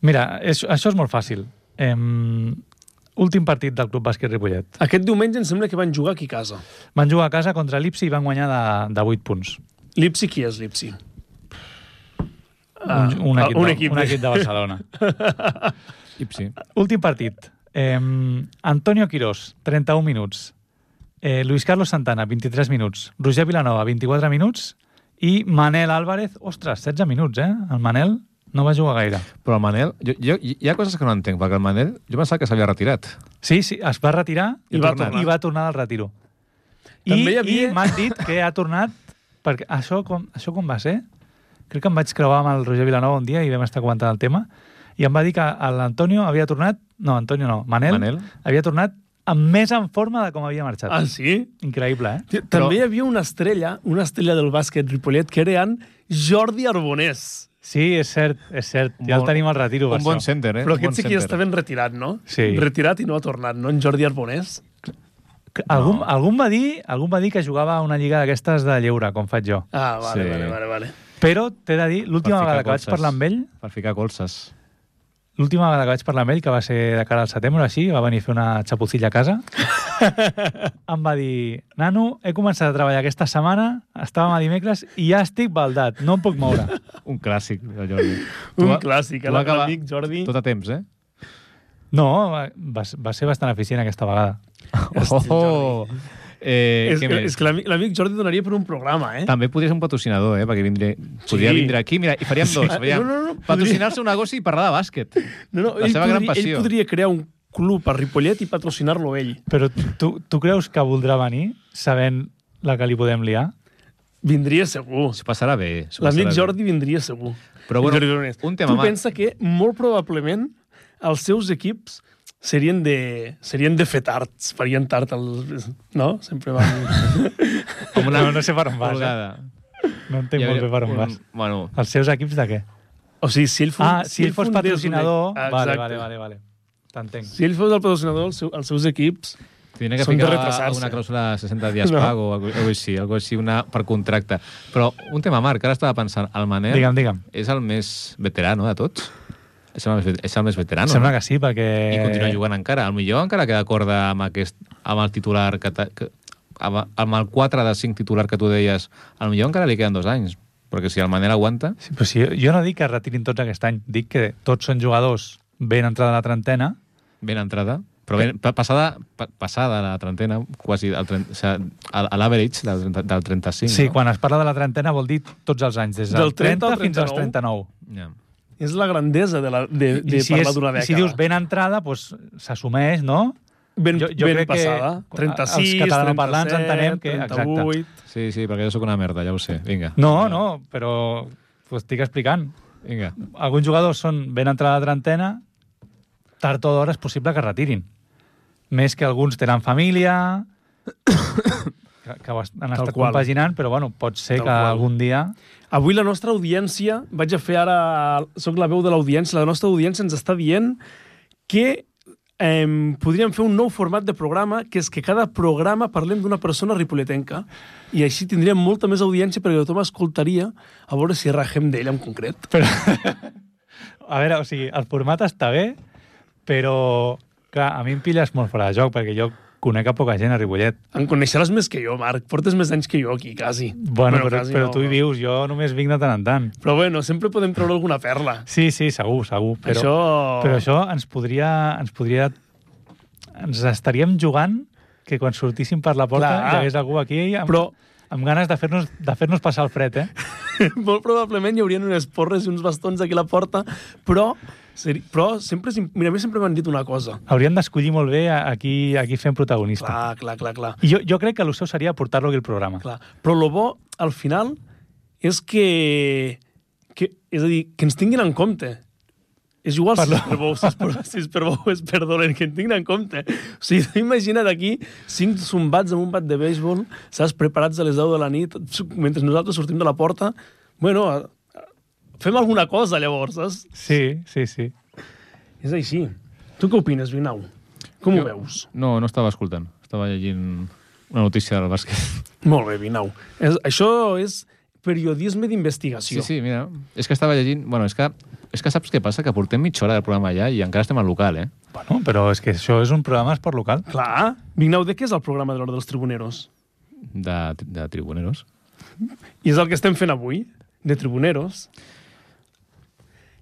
S3: Mira, és, això és molt fàcil. Em, últim partit del Club Bàsquet Ripollet.
S1: Aquest diumenge em sembla que van jugar aquí a casa.
S3: Van jugar a casa contra l'Ipsi i van guanyar de, de 8 punts.
S1: Lipsi, qui és Lipsi?
S3: Un, Ah, un, equip,
S1: un
S3: de,
S1: equip.
S3: un equip de Barcelona.
S2: Ipsi.
S3: Últim partit. Eh, Antonio Quirós, 31 minuts. Eh, Luis Carlos Santana, 23 minuts. Roger Vilanova, 24 minuts. I Manel Álvarez, ostres, 16 minuts, eh? El Manel no va jugar gaire.
S2: Però el Manel... Jo, jo, hi ha coses que no entenc, perquè el Manel... Jo pensava que s'havia retirat.
S3: Sí, sí, es va retirar
S1: I va tornar.
S3: i va tornar del retiro.
S1: També
S3: I,
S1: hi havia-
S3: i m'han dit que ha tornat... Perquè això com, això com va ser? Crec que em vaig creuar amb el Roger Vilanova un dia i vam estar comentant el tema i em va dir que l'Antonio havia tornat... No, Antonio no, Manel,
S2: Manel.
S3: havia tornat amb més en forma de com havia marxat.
S1: Ah, sí?
S3: Increïble, eh?
S1: Tio, També hi havia una estrella, una estrella del bàsquet Ripollet, que era en Jordi Arbonés.
S3: Sí, és cert, és cert. Ja el
S2: Molt-
S3: tenim al retiro, per
S2: Un bon
S3: això.
S2: center, eh?
S1: Però
S2: un bon
S1: aquest sí que ja
S2: center.
S1: està ben retirat, no?
S3: Sí.
S1: Retirat i no ha tornat, no? En Jordi Arbonés.
S3: Que Algun, algun, va dir, algun va dir que jugava a una lliga d'aquestes de lleure, com faig jo.
S1: Ah, vale,
S2: Sí.
S1: vale, vale, vale.
S3: Però t'he de dir, l'última
S2: Per ficar
S3: vegada que vaig
S2: colzes.
S3: parlar amb ell,
S2: Per ficar colzes.
S3: l'última vegada que vaig parlar amb ell, que va ser de cara al setembre o així, va venir a fer una xapucilla a casa, em va dir, nano, he començat a treballar aquesta setmana, estàvem a dimecres i ja estic baldat, no em puc moure.
S2: Un clàssic, de Jordi.
S1: Un
S2: Tu va-
S1: clàssic,
S2: tu
S1: a la-
S2: acaba-
S1: l'amic Jordi.
S2: Tot a temps, eh?
S3: No, va, va ser bastant eficient aquesta vegada.
S2: Oh, oh. Eh,
S1: és,
S2: què
S1: que,
S2: més?
S1: és que l'amic l'amic Jordi donaria per un programa, eh?
S2: També podria ser un patrocinador, eh? Perquè vindré, podria vindre aquí, mira, i faríem dos. Faríem
S1: No, no, no, podria-
S2: patrocinar-se un negoci i parlar de bàsquet.
S1: No, no,
S2: La
S1: ell,
S2: seva gran
S1: podria, ell
S2: passió.
S1: podria crear un club a Ripollet i patrocinar-lo ell.
S3: Però tu, tu creus que voldrà venir sabent la que li podem liar?
S1: Vindria segur.
S2: S'ho passarà bé. s'ho
S1: L'amic
S2: passarà
S1: Jordi vindria segur.
S2: Però, bueno,
S1: Jordi Brunés.
S2: un tema,
S1: Tu
S2: Marc.
S1: pensa que molt probablement els seus equips serien de, serien de fer tards, farien tard els... No? Sempre van...
S2: Bé. Com una
S3: No, no sé per on vas, eh?
S2: colgada.
S3: No entenc
S2: Hi
S3: molt
S2: hauria
S3: bé per on
S2: un-
S3: vas.
S2: Bueno,
S3: Els seus equips de què?
S1: o sigui, si ell fos,
S3: Ah, si ell fos
S1: fundés un
S3: patrocinador...
S1: equip-
S3: Vale,
S1: Exacte.
S3: vale, vale. vale. T'entenc.
S1: Si ell fos el patrocinador, els, seu, els seus equips...
S2: tindria que
S1: Són de
S2: ficar
S1: retrasar-se.
S2: una clàusula de 60 dies
S1: No.
S2: no. pago o algo, algo així, algo així una, per contracte. Però un tema, Marc, que ara estava pensant, el Manel
S3: Digue'm, digue'm.
S2: és el més veterano de tots? És el més, vet- és el més veterano.
S3: Sembla
S2: Ah, no?
S3: que sí, perquè...
S2: i continua jugant encara. Al millor encara queda corda amb, aquest, amb el titular que, ta- que amb, amb el 4 de 5 titular que tu deies, al millor encara li queden dos anys, perquè si el Manel aguanta...
S3: Sí, però si jo, jo no dic que es retirin tots aquest any, dic que tots són jugadors ben entrada a la trentena,
S2: ben entrada, però ben, pa- passada, pa- passada la trentena, quasi el, tren- o sigui, a- a l'average del, 30 del 35.
S3: sí,
S2: no?
S3: quan es parla de la trentena vol dir tots els anys, des del,
S1: Del 30 al
S3: fins als 39.
S2: Ja.
S1: És la grandesa de, la, de, de
S3: I si,
S1: parlar
S3: és-
S1: d'una
S3: i
S1: dècada.
S3: si dius ben entrada, doncs s'assumeix, no?
S1: ben,
S3: jo- jo
S1: ben
S3: crec que
S1: passada.
S3: els
S1: 36,
S3: catalanoparlants
S1: 37,
S3: entenem que- exacte.
S1: 38...
S2: sí, sí, perquè jo sóc una merda, ja ho sé. Vinga,
S3: No, no, però ho estic explicant.
S2: vinga.
S3: alguns jugadors són ben entrada a trentena, tard o d'hora és possible que es retirin. Més que alguns tenen família, que, que ho est- han estat
S1: qual.
S3: compaginant, però bueno, pot ser
S1: Tal
S3: que
S1: qual.
S3: algun dia...
S1: Avui la nostra audiència, vaig a fer ara... Soc la veu de l'audiència, la nostra audiència ens està dient que eh, podríem fer un nou format de programa, que és que cada programa parlem d'una persona ripoletenca, i així tindríem molta més audiència perquè tothom escoltaria a veure si rajem d'ell en concret.
S3: Però... a veure, o sigui, el format està bé, però clar, a mi em pilles molt fora de joc, perquè jo conec a poca gent a Ribollet.
S1: En coneixeràs més que jo, Marc. Portes més anys que jo aquí, quasi.
S3: Bueno, però,
S1: quasi
S3: però
S1: no,
S3: tu hi
S1: no.
S3: vius, jo només vinc de tant en tant.
S1: Però bueno, sempre podem treure alguna perla.
S3: Sí, sí, segur, segur. Però...
S1: Això...
S3: Però això ens podria... Ens podria ens estaríem jugant que quan sortíssim per la porta
S1: Clar.
S3: hi hagués algú aquí amb,
S1: Però-
S3: amb ganes de fer-nos de fer passar el fred, eh?
S1: molt probablement hi haurien unes porres i uns bastons aquí a la porta, però, seri- però sempre, és im- mira, a mi sempre m'han dit una cosa.
S3: Hauríem d'escollir molt bé a- aquí, aquí fent protagonista.
S1: Clar, clar, clar, clar.
S3: I jo, jo crec que el seu seria portar-lo aquí al programa.
S1: clar. Però el bo, al final, és que, que... És a dir, que ens tinguin en compte. És igual
S3: Perdó.
S1: si és per bou, si és per, si és per bou, és per dolent, que en tinguin en compte. O sigui, tu imagina't aquí cinc zumbats amb un bat de béisbol, saps, preparats a les 10 de la nit, mentre nosaltres sortim de la porta. Bueno, a- a- fem alguna cosa, llavors, saps?
S3: Sí, sí, sí.
S1: És així. Tu què opines, Vinau? Com ho veus?
S2: No, no estava escoltant. Estava llegint una notícia del bàsquet.
S1: Molt bé, Vinau. És, això és periodisme
S2: Sí,
S1: d'investigació.
S2: sí, mira. És que estava llegint... Bueno, és que, és que saps què passa? Que portem mitja hora del programa allà i encara estem al local, eh?
S3: Bueno, però és que això és un programa esport local.
S1: Clar. Vinau, de què és el programa de l'Hora dels Tribuneros?
S2: De, de tribuneros.
S1: I és el que estem fent avui, de Tribuneros.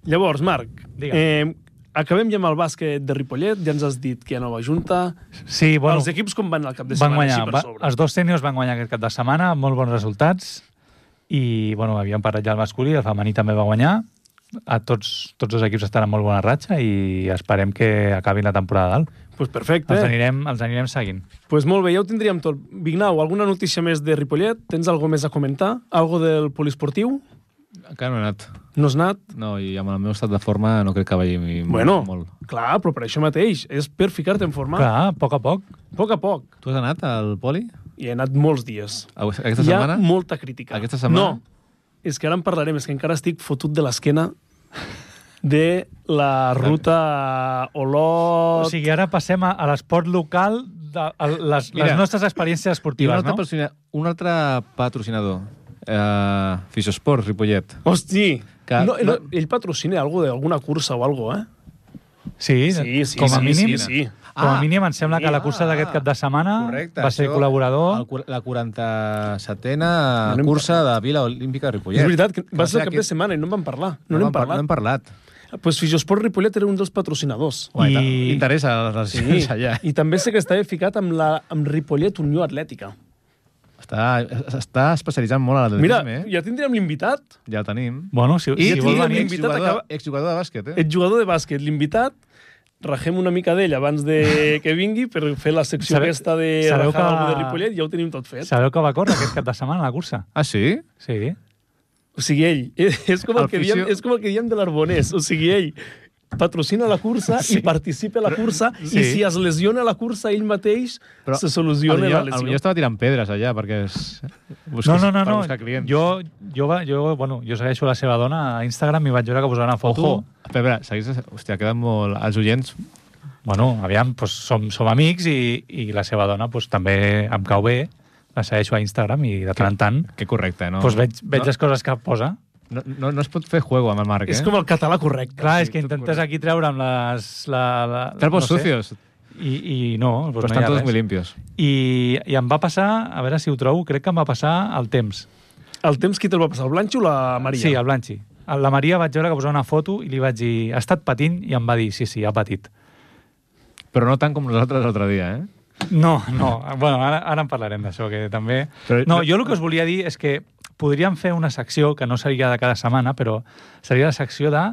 S1: Llavors, Marc,
S3: Digue'm.
S1: eh, acabem ja amb el bàsquet de Ripollet, ja ens has dit que hi ha nova junta.
S3: Sí,
S1: Bueno,
S3: bueno,
S1: Els equips com van al cap de
S3: van
S1: setmana,
S3: guanyar.
S1: així per
S3: Va,
S1: sobre?
S3: els dos sèniors van guanyar aquest cap de setmana, amb molt bons resultats. I, bueno, havíem parlat ja el masculí, el femení també va guanyar. A tots, tots els equips estan en molt bona ratxa i esperem que acabin la temporada dalt.
S1: Doncs pues perfecte.
S3: Els
S1: Doncs
S3: anirem, els anirem seguint.
S1: pues molt bé, ja ho tindríem tot. Vignau, alguna notícia més de Ripollet? Tens alguna més a comentar? Algo del poliesportiu?
S2: Encara no he anat.
S1: No has anat?
S2: No, i amb el meu estat de forma no crec que vagi mi-
S1: Bueno,
S2: molt.
S1: clar, però per això mateix. És per ficar-te en forma.
S3: Clar, a poc a poc.
S1: A poc a poc.
S2: Tu has anat al poli?
S1: I he anat molts dies.
S2: Aquesta
S1: Hi ha
S2: setmana?
S1: molta crítica.
S2: Aquesta setmana?
S1: No, és que ara en parlarem, és que encara estic fotut de l'esquena de la ruta Olot...
S3: O sigui, ara passem a, a l'esport local, de, a les,
S2: Mira,
S3: les nostres experiències
S2: I un
S3: esportives,
S2: altre,
S3: no?
S2: patrocina... un altre patrocinador. Uh, Fisosport, Ripollet.
S1: Hosti!
S2: Que-
S1: No, no, ell patrocina algo d'alguna cursa o algo, eh?
S3: Sí,
S1: Sí, sí,
S3: com a
S1: sí, sí,
S3: mínim.
S1: sí.
S3: Com a
S2: Ah,
S3: mínim, em sembla que la cursa
S2: ah,
S3: d'aquest cap de setmana
S2: Correcte.
S3: va ser
S2: això,
S3: col·laborador.
S2: el cu- La 47a
S1: No n'hem
S2: cursa de Vila Olímpica de Ripollet.
S1: És veritat, que va
S2: ser
S1: ser el cap de setmana i no en vam parlar. No,
S2: No
S1: n'hem
S2: n'hem par- no
S1: parlat.
S2: n'hem parlat.
S1: Doncs pues Fisiosport Ripollet era un dels patrocinadors.
S2: Uai,
S3: I-
S2: I... Interessa les sí.
S1: Sí.
S2: allà.
S1: I també sé que estava ficat amb, la, amb Ripollet Unió Atlètica.
S2: Està, està especialitzant molt
S3: Doncs
S2: a
S1: Mira,
S2: l'atletisme, eh?
S1: ja tindríem l'invitat.
S2: Ja el tenim.
S3: Bueno, si,
S2: I
S3: si
S1: tindríem
S3: vol venir...
S1: l'invitat
S2: exjugador,
S1: acaba-
S2: exjugador de bàsquet, eh?
S1: Ets jugador de bàsquet, l'invitat, rajem una mica d'ell abans de que vingui per fer la secció
S3: Sabeu-
S1: aquesta de
S3: sabeu
S1: rajar
S3: que-
S1: algú de Ripollet, ja ho tenim tot fet.
S3: Sabeu que va córrer aquest cap de setmana la cursa?
S2: Ah, sí?
S3: Sí.
S1: O sigui, ell, és, és, com el
S2: El
S1: que diem,
S2: fisio-
S1: és com el que diem de l'Arbonès, o sigui, ell patrocina la cursa sí. i participa a la cursa sí. i
S3: sí.
S1: si es lesiona la cursa ell mateix Però se soluciona
S2: potser-
S1: la
S2: potser
S1: lesió.
S2: estava tirant pedres allà perquè es...
S3: No,
S2: busqués-
S3: no, no,
S2: per
S3: no.
S2: buscar clients.
S3: Jo, jo, va, jo, bueno, jo segueixo la seva dona a Instagram i vaig veure que posava una foto.
S2: Ojo, espera, espera, seguís... Hòstia, queden molt... Els oients...
S3: Bueno, aviam, doncs som, som amics i, i la seva dona doncs, també em cau bé. La segueixo a Instagram i de tant en tant
S2: Que correcte, no?
S3: doncs veig, veig
S2: no,
S3: les coses que posa.
S2: no, no, no es pot fer juego amb el Marc, eh?
S1: És com el català correcte.
S3: Clar,
S2: Sí,
S3: és que
S2: tot
S3: intentes aquí treure amb les... La, la,
S2: Trapos
S3: no sé,
S2: sucios,
S3: I, I no, doncs
S2: però
S3: no hi
S2: estan
S3: ha
S2: tots
S3: res.
S2: muy limpios.
S3: I, I em va passar, a veure si ho trobo, crec que em va passar el temps.
S1: El temps qui te'l va passar, el Blanxo o la Maria?
S3: Sí, el Blanchi. A La Maria vaig veure que posava una foto i li vaig dir ha estat patint i em va dir sí, sí, ha patit.
S2: Però no tant com nosaltres l'altre dia, eh?
S3: No, no. bueno, ara, ara en parlarem d'això, que també...
S2: Però-
S3: No, jo el que us volia dir és que podríem fer una secció que no seria de cada setmana, però seria la secció de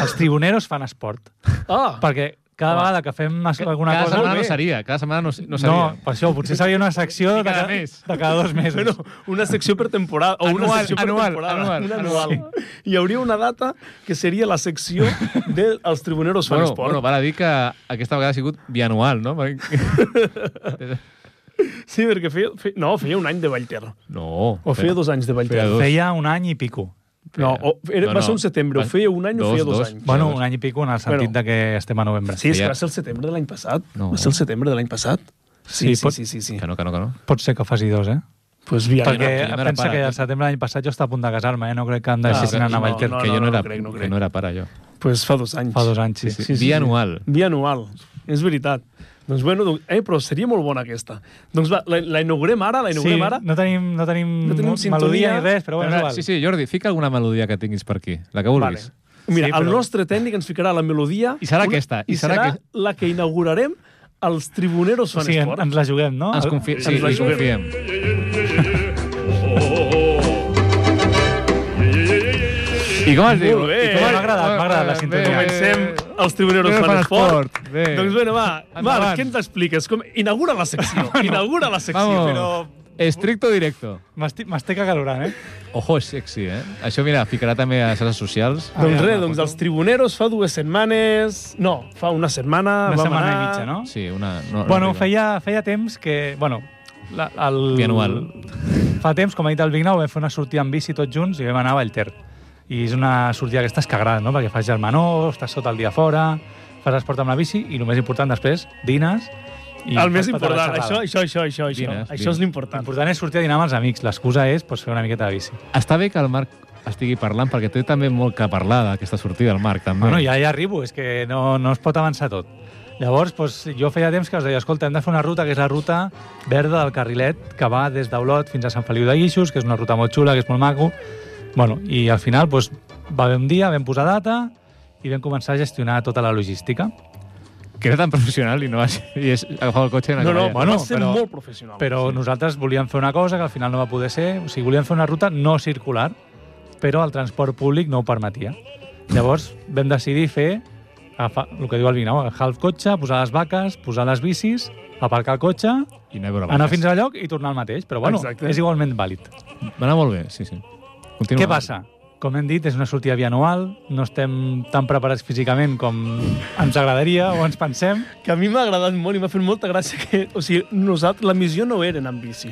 S3: els tribuneros fan esport.
S1: Ah,
S3: Perquè cada vegada que fem es- alguna
S2: cada
S3: cosa...
S2: setmana no seria, cada setmana no, no
S3: No,
S2: seria.
S3: per això, potser seria una secció
S2: I
S3: de
S2: cada
S3: cada,
S2: mes.
S3: de cada dos mesos.
S1: Bueno, una secció per temporada. O una
S2: Anual,
S1: secció per
S2: anual,
S1: temporada.
S2: anual,
S1: una
S2: anual.
S1: anual. Hi hauria una data que seria la secció dels tribuneros fan
S2: bueno,
S1: esport.
S2: bueno, val a dir que aquesta vegada ha sigut bianual, no? Perquè-
S1: Sí, perquè feia, feia, no, feia un any de Vallter.
S2: No.
S1: O feia dos anys de Vallter.
S2: Feia dos.
S3: Feia un any i pico.
S1: No, o, era, no,
S2: No,
S1: va
S2: no.
S1: ser un setembre.
S2: Va-
S1: O feia un any
S2: dos,
S1: o feia dos,
S2: dos.
S1: anys.
S3: Bueno,
S2: Llavors-
S3: un any i pico en el sentit
S1: Bueno.
S3: de que estem a novembre.
S1: Sí, és
S2: feia-
S1: que va ser el setembre de l'any passat.
S2: No.
S1: Va ser el setembre de l'any passat. Sí,
S3: Sí,
S1: sí,
S3: pot-
S1: sí, sí. sí.
S2: Que no, que no, que no.
S3: Pot ser que faci dos, eh?
S1: Pues via,
S3: Perquè
S2: no, que jo no era
S3: pensa
S2: pare,
S3: que
S2: que-
S3: al setembre de l'any passat jo estava a punt de casar-me, eh? No crec que em
S2: que,
S3: deixessin
S1: Ah, no,
S3: anar a
S1: no,
S3: Vallter.
S1: no,
S2: que jo no, era,
S1: crec, no
S2: que
S1: crec.
S2: no era pare, jo.
S1: pues fa dos anys.
S3: Fa dos anys, sí. sí,
S2: sí. Bianual.
S1: Bianual. És veritat. Doncs bueno, doncs, eh, però seria molt bona aquesta. Doncs va, la, la inaugurem ara, la inaugurem ara.
S3: no tenim, no tenim,
S1: No tenim
S3: melodia
S1: sintonia.
S3: ni res, però bueno, és igual.
S2: sí, sí, Jordi, fica alguna melodia que tinguis per aquí, la que vulguis.
S1: Mira,
S3: Sí,
S1: el
S3: però-
S1: nostre tècnic ens ficarà la melodia...
S2: I serà aquesta, i
S1: I serà,
S2: serà
S1: serà
S2: que-
S1: la que inaugurarem els tribuneros
S3: O
S1: fan
S3: sigui, en-
S1: esport.
S3: ens la juguem, no?
S2: Ens confi Ah, sí,
S1: ens la
S2: hi
S1: juguem.
S2: confiem. I com es diu?
S1: Molt bé.
S2: I com es-
S1: M'ha
S3: agradat, m'ha agradat la
S2: Bé.
S3: sintonia.
S1: Comencem els tribuneros
S2: Tribuneros
S1: fan,
S2: fan
S1: esport.
S2: esport. Bé.
S1: Doncs bueno, va,
S2: Endavant.
S1: Marc, què ens expliques? Com... Inaugura la secció, inaugura la secció.
S2: Vamos.
S1: Però
S2: Estricto directo.
S3: M'esti- M'estic acalorant, eh?
S2: Ojo, és sexy, eh? Això, mira, ficarà també a les xarxes socials.
S3: Ah,
S1: Doncs
S3: ja,
S1: res,
S3: una
S1: doncs
S3: foto.
S1: els tribuneros fa dues setmanes... No, fa una setmana
S3: Una
S1: Ah, vam
S3: setmana
S1: anar...
S3: i mitja, no?
S2: Sí, una... No, no
S3: Bueno,
S2: arriba.
S3: feia, feia temps que... Bueno, la, el...
S2: Bianual.
S3: Fa temps, com ha dit el Vignau, vam fer una sortida amb bici tots junts i vam anar a Vallter. I és una sortida aquestes que agrada, no? Perquè fas germanor, estàs sota el dia fora, fas esport amb la bici i el més important després, dines... I
S1: El més
S3: fas patar la
S1: important,
S3: xerrada.
S1: això, això, això, això, això.
S2: Dines,
S1: això
S2: dines.
S1: és l'important.
S3: L'important és sortir a dinar amb els amics. L'excusa és pues, fer una miqueta de bici.
S2: Està bé que el Marc estigui parlant, perquè té també molt que parlar d'aquesta sortida, el Marc, també.
S3: Bueno, ja hi arribo, és que no, no es pot avançar tot. Llavors, doncs, jo feia temps que us deia, escolta, hem de fer una ruta que és la ruta verda del carrilet, que va des d'Olot fins a Sant Feliu de Guixos, que és una ruta molt xula, que és molt maco. Bueno, I al final doncs, va haver un dia, vam posar data i vam començar a gestionar tota la logística.
S2: Que era tan professional i no has... I és agafar el cotxe i anar
S1: No, no,
S2: cap allà.
S1: bueno,
S3: Bueno,
S1: va ser
S3: però-
S1: molt professional.
S3: Però nosaltres volíem fer una cosa que al final no va poder ser. O sigui, volíem fer una ruta no circular, però el transport públic no ho permetia. Llavors vam decidir fer agafar, el que diu el Vignau, agafar el cotxe, posar les vaques, posar les bicis, aparcar el cotxe,
S2: I anar a veure
S3: anar
S2: vaques.
S3: fins al lloc i tornar al mateix. Però bueno,
S1: Exacte.
S3: és igualment vàlid.
S2: Va anar molt bé, sí, sí. Continua.
S3: Què passa? Com hem dit, és una sortida bianual, no estem tan preparats físicament com ens agradaria o ens pensem.
S1: que a mi m'ha agradat molt i m'ha fet molta gràcia que... O sigui, nosaltres, la missió no era anar amb bici.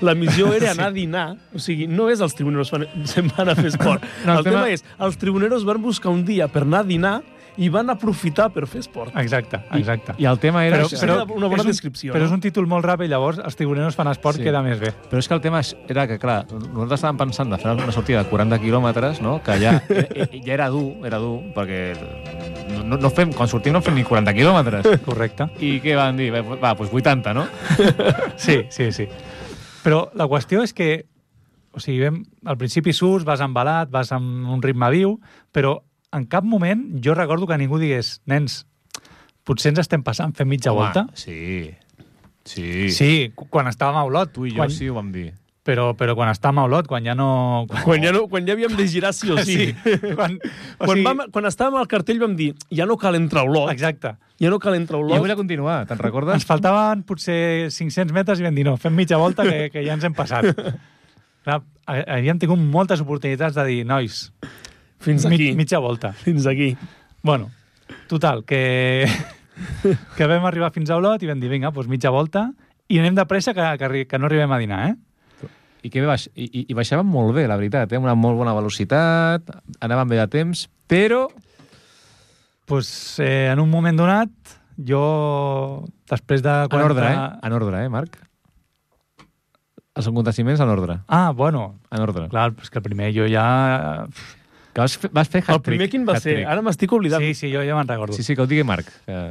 S1: La missió era anar a dinar. O sigui, no és els tribuneros fan, se'n van a fer esport.
S3: No, el
S1: el, tema...
S3: tema-
S1: és, els tribuneros van buscar un dia per anar a dinar i van aprofitar per fer esport.
S3: Exacte, exacte.
S2: I el tema era...
S1: Però-
S2: això.
S1: però- Seria una bona
S3: és un,
S1: descripció,
S3: Però
S1: no?
S3: és un títol molt ràpid, llavors els tribuneros fan esport, sí.
S2: Sí.
S3: queda més bé.
S2: Però és que el tema és- era que, clar, nosaltres estàvem pensant de fer una sortida de 40 quilòmetres, no? que ja, ja era dur, era dur, perquè no, no fem, quan sortim no fem ni 40 quilòmetres.
S3: Correcte.
S2: I què van dir? Bé, Va, doncs 80, no?
S3: Sí, sí, sí. Però la qüestió és que, o sigui, vam, al principi surts, vas embalat, vas amb un ritme viu, però en cap moment jo recordo que ningú digués, nens, potser ens estem passant fent mitja
S2: Home,
S3: volta.
S2: Sí, sí.
S3: Sí, cu- quan estàvem a Olot.
S2: Tu i jo
S3: quan,
S2: sí ho vam dir.
S3: Però, però quan estàvem a Olot, quan ja no...
S1: Quan ja, no, quan ja havíem de girar sí o sí.
S3: quan, o
S1: Quan,
S3: sigui,
S1: vam, quan estàvem al cartell vam dir ja no cal entrar a Olot,
S3: Exacte.
S1: ja no cal entrar a
S2: Jo
S1: Olot.
S2: volia continuar, te'n recordes?
S3: Ens faltaven potser 500 metres i vam dir no, fem mitja volta que, que ja ens hem passat. Clar, ha- havíem tingut moltes oportunitats de dir, nois,
S1: Fins aquí.
S3: mit, mitja volta.
S1: Fins aquí.
S3: Bueno, total, que, que vam arribar fins a Olot i vam dir, vinga, doncs mitja volta i anem de pressa que, que, arri- que no arribem a dinar, eh?
S2: I, que baix... I, i, I baixàvem molt bé, la veritat, eh? amb una molt bona velocitat, anàvem bé de temps, però...
S3: Pues, eh, en un moment donat, jo, després de...
S2: En
S3: 40
S2: ordre, eh? En ordre, eh, Marc? Els aconteciments en ordre.
S3: Ah, bueno,
S2: En ordre.
S3: clar, és que primer jo ja...
S2: Que vas fer, vas fer
S1: El
S2: hat-trick.
S1: primer quin va ser?
S2: hat-trick.
S1: Ara m'estic oblidant.
S3: Sí, sí, jo ja me'n recordo.
S2: Sí, sí, que ho digui Marc. Que...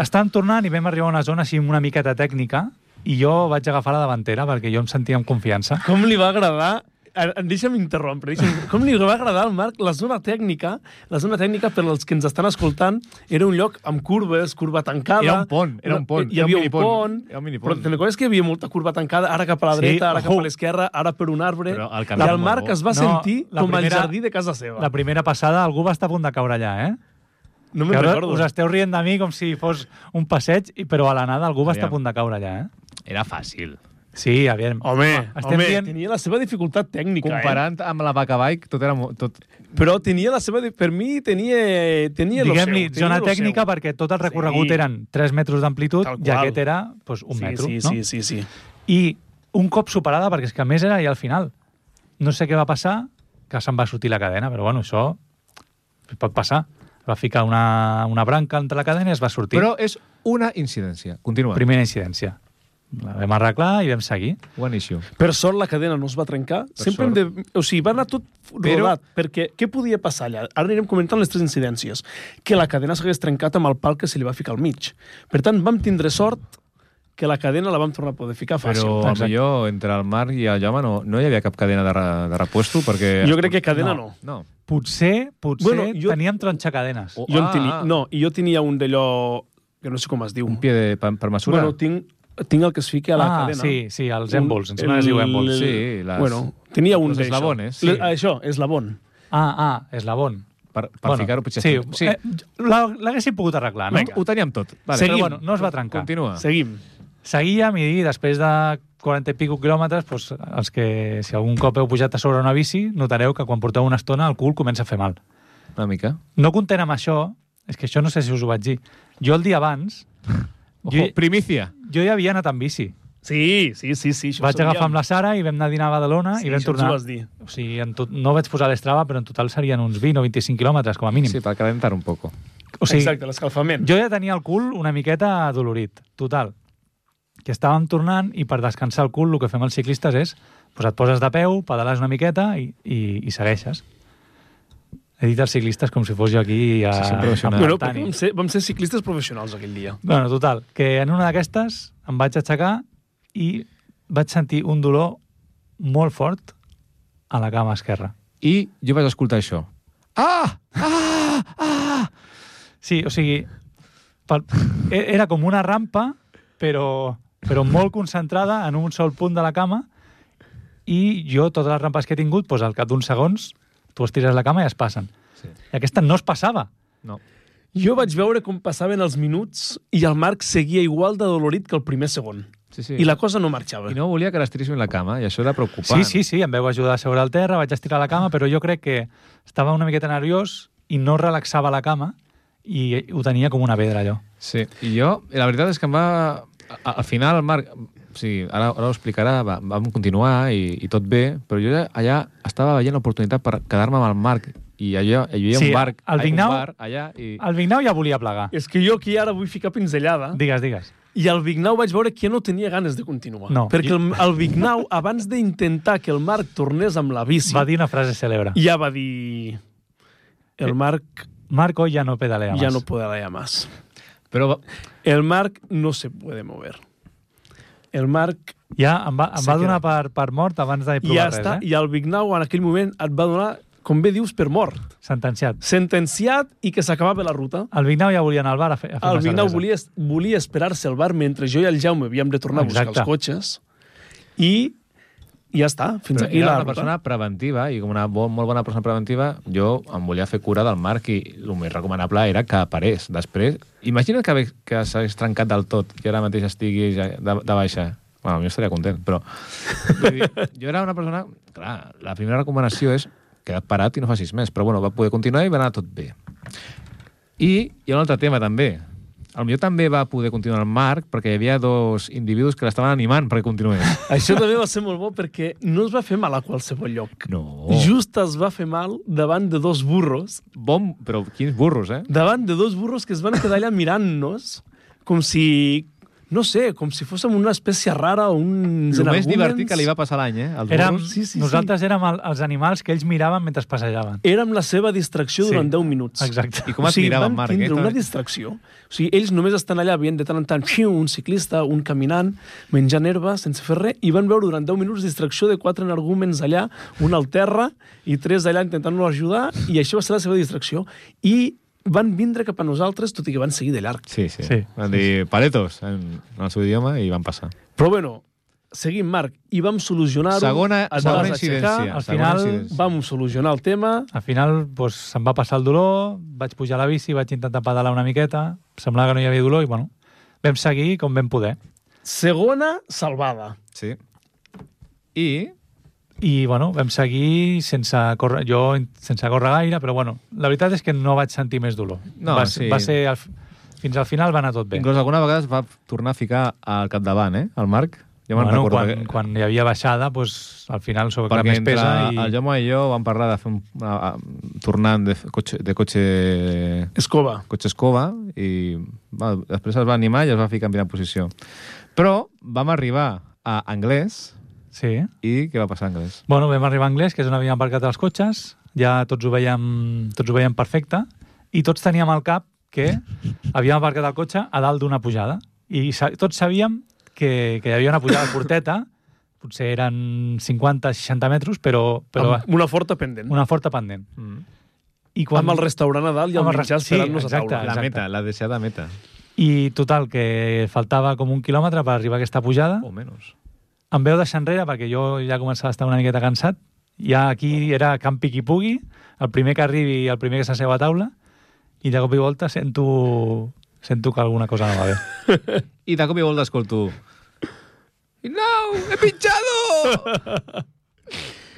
S3: estàvem tornant i vam arribar a una zona així una miqueta tècnica i jo vaig agafar la davantera perquè jo em sentia amb confiança.
S1: Com li va agradar Ara, Deixa'm interrompre. Deixa'm... Com li va agradar al Marc la zona tècnica? La zona tècnica, per als que ens estan escoltant, era un lloc amb curves, curva tancada.
S2: Era un pont, era un pont,
S1: Hi
S2: era un
S1: havia un,
S2: minipont,
S1: pont.
S2: era un minipont.
S1: Però te'n recordes que hi havia molta curva tancada, ara cap a la
S3: Sí,
S1: dreta, ara cap
S3: ojo.
S1: a l'esquerra, ara per un arbre.
S2: Però el
S1: I
S2: camí era
S1: el
S2: molt
S1: Marc
S2: bo.
S1: es va
S3: No,
S1: sentir
S3: la
S1: com
S3: primera-
S1: el jardí de casa seva.
S3: La primera passada algú va estar a punt de caure allà, eh?
S1: No
S3: Que
S1: me'n
S3: ara
S1: recordo.
S3: us esteu rient de mi com si fos un passeig, i- però a l'anada algú va estar a
S2: Aviam.
S3: punt de caure allà, eh?
S2: Era fàcil.
S3: Sí, aviam.
S1: Home,
S3: estem
S1: home,
S3: dient-
S1: tenia la seva dificultat tècnica, eh?
S2: Comparant amb la vaca bike, tot era... mo- Tot...
S1: Però tenia la seva... di- Per mi tenia, tenia lo seu.
S3: Diguem-li
S1: tenia
S3: zona
S1: lo
S3: tècnica
S1: seu.
S3: perquè tot el recorregut
S1: Sí.
S3: eren 3 metres d'amplitud
S1: Tal
S3: i
S1: qual.
S3: aquest era doncs, un metro,
S1: sí, sí,
S3: no?
S1: Sí, sí, sí.
S3: I un cop superada, perquè és que a més era ja al final. No sé què va passar, que se'n va sortir la cadena, però bueno, això pot passar. Va ficar una, una branca entre la cadena i es va sortir.
S2: Però és una incidència. Continua. Primer...
S3: Primera incidència. La vam arreglar i vam seguir.
S2: One issue.
S1: Per sort la cadena no es va trencar.
S2: Per
S1: Sempre hem de... O sigui, va anar tot
S2: Però-
S1: rodat. Perquè què podia passar allà? Ara anirem comentant les tres incidències. Que la cadena s'hagués trencat amb el pal que se li va ficar al mig. Per tant, vam tindre sort que la cadena la vam tornar a poder ficar fàcil.
S2: Però
S3: Exacte.
S2: potser entre el Marc i el Jaume no, no hi havia cap cadena de, re, de repuesto, perquè...
S1: Jo crec que cadena no.
S2: No.
S3: Potser, potser bueno,
S1: Bueno,
S3: jo...
S1: jo-
S3: teníem tronxacadenes.
S2: O-
S3: Oh.
S1: Jo en
S2: Ah,
S1: tenia...
S2: ah.
S1: No, i jo tenia un d'allò... que no sé com es diu.
S2: Un pie de, per, per mesura.
S1: Bueno, tinc, tinc el que es fica a la
S3: Ah,
S1: cadena.
S3: sí, sí, els
S1: Un-
S3: èmbols. Em sembla que es diu
S1: el-
S3: èmbols.
S2: Sí, les-
S1: Bueno, tenia un
S2: los
S1: d'això.
S2: eslabones, sí.
S1: Le- Això, eslabon.
S3: Ah, ah, és la bon.
S2: Per, per ficar-ho potser...
S3: Sí,
S2: sí.
S3: sí. Eh, l'ha- L'haguéssim pogut arreglar, no?
S1: Vinga.
S2: Ho teníem tot. Vale.
S1: Seguim.
S3: Però
S2: Ah.
S3: bueno, no es va trencar.
S2: Continua.
S1: Seguim.
S3: Seguíem i després de 40 i pico quilòmetres, doncs, els que, si algun cop heu pujat a sobre una bici, notareu que quan porteu una estona el cul comença a fer mal.
S2: Una mica.
S3: No content amb això, és que això no sé si us ho vaig dir, jo el dia abans,
S2: Ojo,
S3: jo,
S2: primícia.
S3: jo ja havia anat amb bici.
S1: Sí, sí, sí, sí. això ho
S3: Vaig
S1: sabíem.
S3: agafar amb la Sara i vam anar a dinar a Badalona
S1: Sí,
S3: Ah, i
S1: això
S3: vam
S1: ens
S3: tornar.
S1: ho vas dir.
S3: O sigui, en tot, no vaig posar l'estrava, però en total serien uns 20 o 25 quilòmetres, com a mínim.
S2: Sí, per calentar un poco.
S3: o sigui,
S1: Exacte, l'escalfament.
S3: jo ja tenia el cul una miqueta adolorit, total. Que estàvem tornant i per descansar el cul el que fem els ciclistes és doncs et poses de peu, pedales una miqueta i, i, i segueixes. He dit els ciclistes com si fos jo aquí a...
S2: Sí, sí,
S3: a
S2: professional.
S1: Bueno,
S3: Tani.
S1: vam ser, vam ser ciclistes professionals aquell dia.
S3: Bueno, total, que en una d'aquestes em vaig aixecar i vaig sentir un dolor molt fort a la cama esquerra.
S2: I jo vaig escoltar això. Ah! Ah! Ah!
S3: Sí, o sigui, pel... e- era com una rampa, però, però molt concentrada en un sol punt de la cama i jo totes les rampes que he tingut, doncs, al cap d'uns segons tu estires la cama i es passen.
S2: Sí.
S3: I aquesta no es passava.
S2: No.
S1: Jo vaig veure com passaven els minuts i el Marc seguia igual de dolorit que el primer segon.
S2: Sí, sí.
S1: Sí. I la cosa no marxava.
S2: I no volia que l'estirissin la cama, i això era preocupant.
S3: Sí, sí, sí, em veu ajudar a seure al terra, vaig estirar la cama, però jo crec que estava una miqueta nerviós i no relaxava la cama i ho tenia com una pedra, allò.
S2: Sí, i jo, la veritat és que em va... a- Al final, Marc, o sigui, ara, ara ho explicarà, va, vam continuar i, i tot bé, però jo ja- allà estava veient l'oportunitat per quedar-me amb el Marc i allò, hi havia
S3: Sí,
S2: un bar,
S3: al
S2: ai, un
S3: Vignau-
S2: bar allà i...
S3: El Vignau ja volia plegar.
S1: És que jo aquí ara vull ficar pinzellada
S3: Digues, digues.
S1: i el Vignau vaig veure que no tenia ganes de continuar.
S3: No.
S1: Perquè el, el Vignau, abans d'intentar que el Marc tornés amb la bici,
S3: Va dir Eh, una frase cèlebre.
S1: ja va dir... El Marc
S3: Marco ya no pedalea más.
S1: ya no podrá más.
S2: Però va-
S1: El Marc no se puede mover. El Marc
S3: Ja em va, em
S1: S'ha
S3: va donar
S1: quedat.
S3: per, per mort abans de
S1: ja
S3: provar res,
S1: està,
S3: eh?
S1: i el Vignau en aquell moment et va donar, com bé dius, per mort.
S3: Sentenciat.
S1: Sentenciat i que s'acabava la ruta.
S3: El Vignau ja volia anar al bar a fer,
S2: Ah,
S3: a fer
S1: El
S3: una
S1: Vignau
S3: cervesa.
S1: volia, volia esperar-se al bar mentre jo i el Jaume havíem de tornar a buscar
S3: Exacte.
S1: els cotxes i ja està, fins
S2: Però
S1: aquí
S2: era
S1: la
S2: una
S1: ruta.
S2: persona preventiva i com una bo, molt bona persona preventiva jo em volia fer cura del Marc i el més recomanable era que parés. Després, imagina't que, hagués- que s'hagués trencat del tot i ara mateix estigui ja de, de baixa. Bueno, jo estaria content, però... Vull dir, jo era una persona... Clar, la primera recomanació és queda't parat i no facis més, però bueno, va poder continuar i va anar tot bé. I hi ha un altre tema, també. El millor també va poder continuar el Marc perquè hi havia dos individus que l'estaven animant perquè continués.
S1: Això també va ser molt bo perquè no es va fer mal a qualsevol lloc.
S2: No.
S1: Just es va fer mal davant de dos burros
S2: Bon, però quins burros, eh?
S1: davant de dos burros que es van quedar allà mirant-nos com si, no sé, com si fóssim una espècie rara o uns
S2: El
S1: energúmens.
S2: més divertit que li va passar l'any, eh? Els
S3: Érem,
S2: burros.
S1: Sí, sí, sí.
S3: nosaltres érem el, els animals que ells miraven mentre es passejaven.
S1: Érem la seva distracció
S3: Sí,
S1: durant 10 minuts.
S3: Exacte.
S2: I com et mirava en
S1: van
S2: Marc, eh,
S1: tindre una
S2: també?
S1: distracció. O sigui, ells només estan allà veient de tant en tant xiu, un ciclista, un caminant, menjant herba, sense fer res, i van veure durant 10 minuts distracció de quatre energúmens allà, un al terra i tres allà intentant-lo ajudar, i això va ser la seva distracció. I van vindre cap a nosaltres, tot i que van seguir de llarg.
S2: Sí, sí.
S3: Sí,
S2: Van dir paletos en, en el seu idioma i van passar.
S1: Però bueno, seguim, Marc, i vam solucionar-ho.
S2: Segona,
S1: et
S2: segona
S1: vas aixecar,
S2: incidència.
S3: al
S2: segona
S3: final
S2: incidència.
S1: Vam solucionar el tema,
S3: Al final doncs, se'm va passar el dolor, vaig pujar a la bici, vaig intentar pedalar una miqueta, semblava que no hi havia dolor i, bueno, vam seguir com vam poder.
S1: segona salvada.
S2: Sí. I
S3: I, bueno, vam seguir sense córrer, jo sense córrer gaire, però, bueno, la veritat és que no vaig sentir més dolor.
S2: No,
S3: va,
S2: sí.
S3: va ser... Al, fi- fins al final va anar tot bé.
S2: inclús alguna vegada es va tornar a ficar al capdavant, eh? El Marc. Jo me'n
S3: bueno,
S2: recordo.
S3: quan,
S2: que-
S3: quan hi havia baixada, doncs, al final sobre que
S2: perquè
S3: més
S2: entre
S3: pesa i...
S2: el Jaume i jo vam parlar de fer un, a, a, tornant de, f- cotxe, de cotxe,
S1: Escova.
S2: cotxe escova i va, després es va animar i es va ficar en primera posició. Però vam arribar a Anglès
S3: Sí.
S2: i què va passar a Anglès?
S3: Bueno, vam arribar a Anglès, que és on havíem aparcat els cotxes, ja tots ho veiem, tots ho veiem perfecte, i tots teníem al cap que havíem aparcat el cotxe a dalt d'una pujada. I sa tots sabíem que, que hi havia una pujada curteta, potser eren 50-60 metres, però, però
S1: Amb una forta pendent.
S3: una forta pendent.
S2: Mm.
S3: I
S1: Quan... Amb el restaurant a dalt i el
S3: Amb el
S1: menjar
S3: rest- sí,
S1: esperant-nos a
S3: exacte.
S1: taula.
S2: La
S3: Exacte.
S2: meta, la deseada meta.
S3: I total, que faltava com un quilòmetre per arribar a aquesta pujada.
S2: O menys.
S3: em veu deixar enrere perquè jo ja començava a estar una miqueta cansat. Ja aquí era campi qui pugui, el primer que arribi i el primer que s'asseu a taula, i de cop i volta sento, sento que alguna cosa no va bé.
S2: I de cop i volta escolto... No, he pinchado!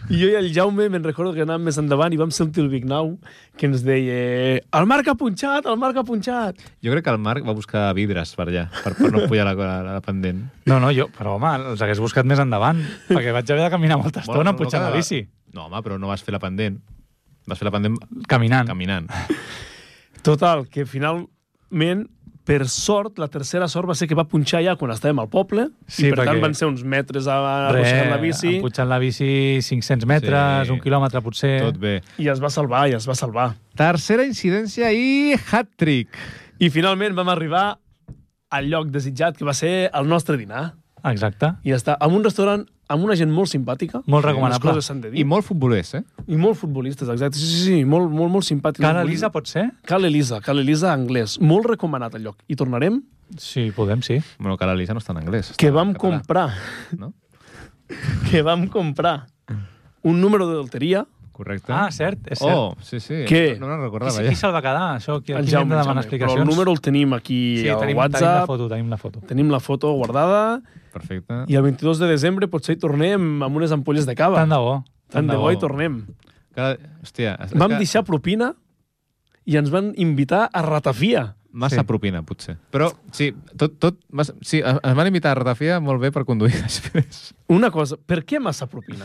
S1: I jo i el Jaume me'n recordo que anàvem més endavant i vam sentir el Big Now que ens deia el Marc ha punxat, el Marc ha punxat.
S2: jo crec que el Marc va buscar vidres per allà, per, per no pujar la, la, la pendent.
S3: No, no, jo, però home, els hagués buscat més endavant, perquè vaig haver de caminar molta estona bueno, pujant
S2: cada-
S3: la bici.
S2: No, home, però no vas fer la pendent. Vas fer la pendent
S3: Caminant.
S2: caminant.
S1: Total, que finalment, per sort, la tercera sort va ser que va punxar ja quan estàvem al poble
S3: Sí,
S1: i per tant
S3: perquè-
S1: van ser uns metres a, a
S3: Re,
S1: la bici
S3: Pujant la bici 500 metres,
S2: Sí.
S3: sí. un quilòmetre potser.
S2: Tot bé.
S1: i es va salvar, i es va salvar.
S2: Tercera incidència i hat-trick.
S1: I finalment vam arribar al lloc desitjat, que va ser el nostre dinar.
S3: Exacte.
S1: I ja està, en un restaurant amb una gent molt simpàtica.
S3: Molt
S1: Sí,
S3: recomanable.
S1: les coses s'han de dir.
S2: I molt futbolers, eh?
S1: I, molt futbolistes, exacte. Sí, sí, sí, molt, molt, molt simpàtic.
S3: Cara lisa pot ser?
S1: Cal Elisa, Cal Elisa anglès. Molt recomanat el lloc. I tornarem,
S3: Sí, podem, sí.
S2: Bueno, que l'Elisa no està en anglès. està
S1: que
S2: en
S1: vam
S2: català,
S1: comprar,
S2: No?
S1: que vam comprar un número de loteria.
S2: Correcte.
S3: Ah, cert, és cert.
S2: Oh, sí, sí.
S1: Què?
S2: No, no me'n
S3: qui,
S2: recordava,
S3: se- qui
S2: ja.
S3: se'l va quedar, això? Qui,
S1: el
S3: aquí hem de demanar
S1: Jaume, Però
S3: explicacions.
S1: el número el tenim aquí
S3: sí,
S1: al
S3: tenim, tenim la
S1: WhatsApp.
S3: foto, tenim la foto.
S1: Tenim la foto guardada
S2: Perfecte.
S1: i el 22 de desembre potser hi tornem amb unes ampolles de cava.
S3: Tant de bo.
S1: Tant de
S2: de
S1: bo hi
S2: bo.
S1: tornem.
S2: Cada... Hòstia, és
S1: Vam
S2: que
S1: deixar propina i ens van invitar a ratafia.
S2: Massa
S3: Sí.
S2: sí. propina, potser. Però, sí, tot, tot... Massa... Sí, ens van invitar a Ratafia molt bé per conduir després.
S1: Una cosa, per què massa propina?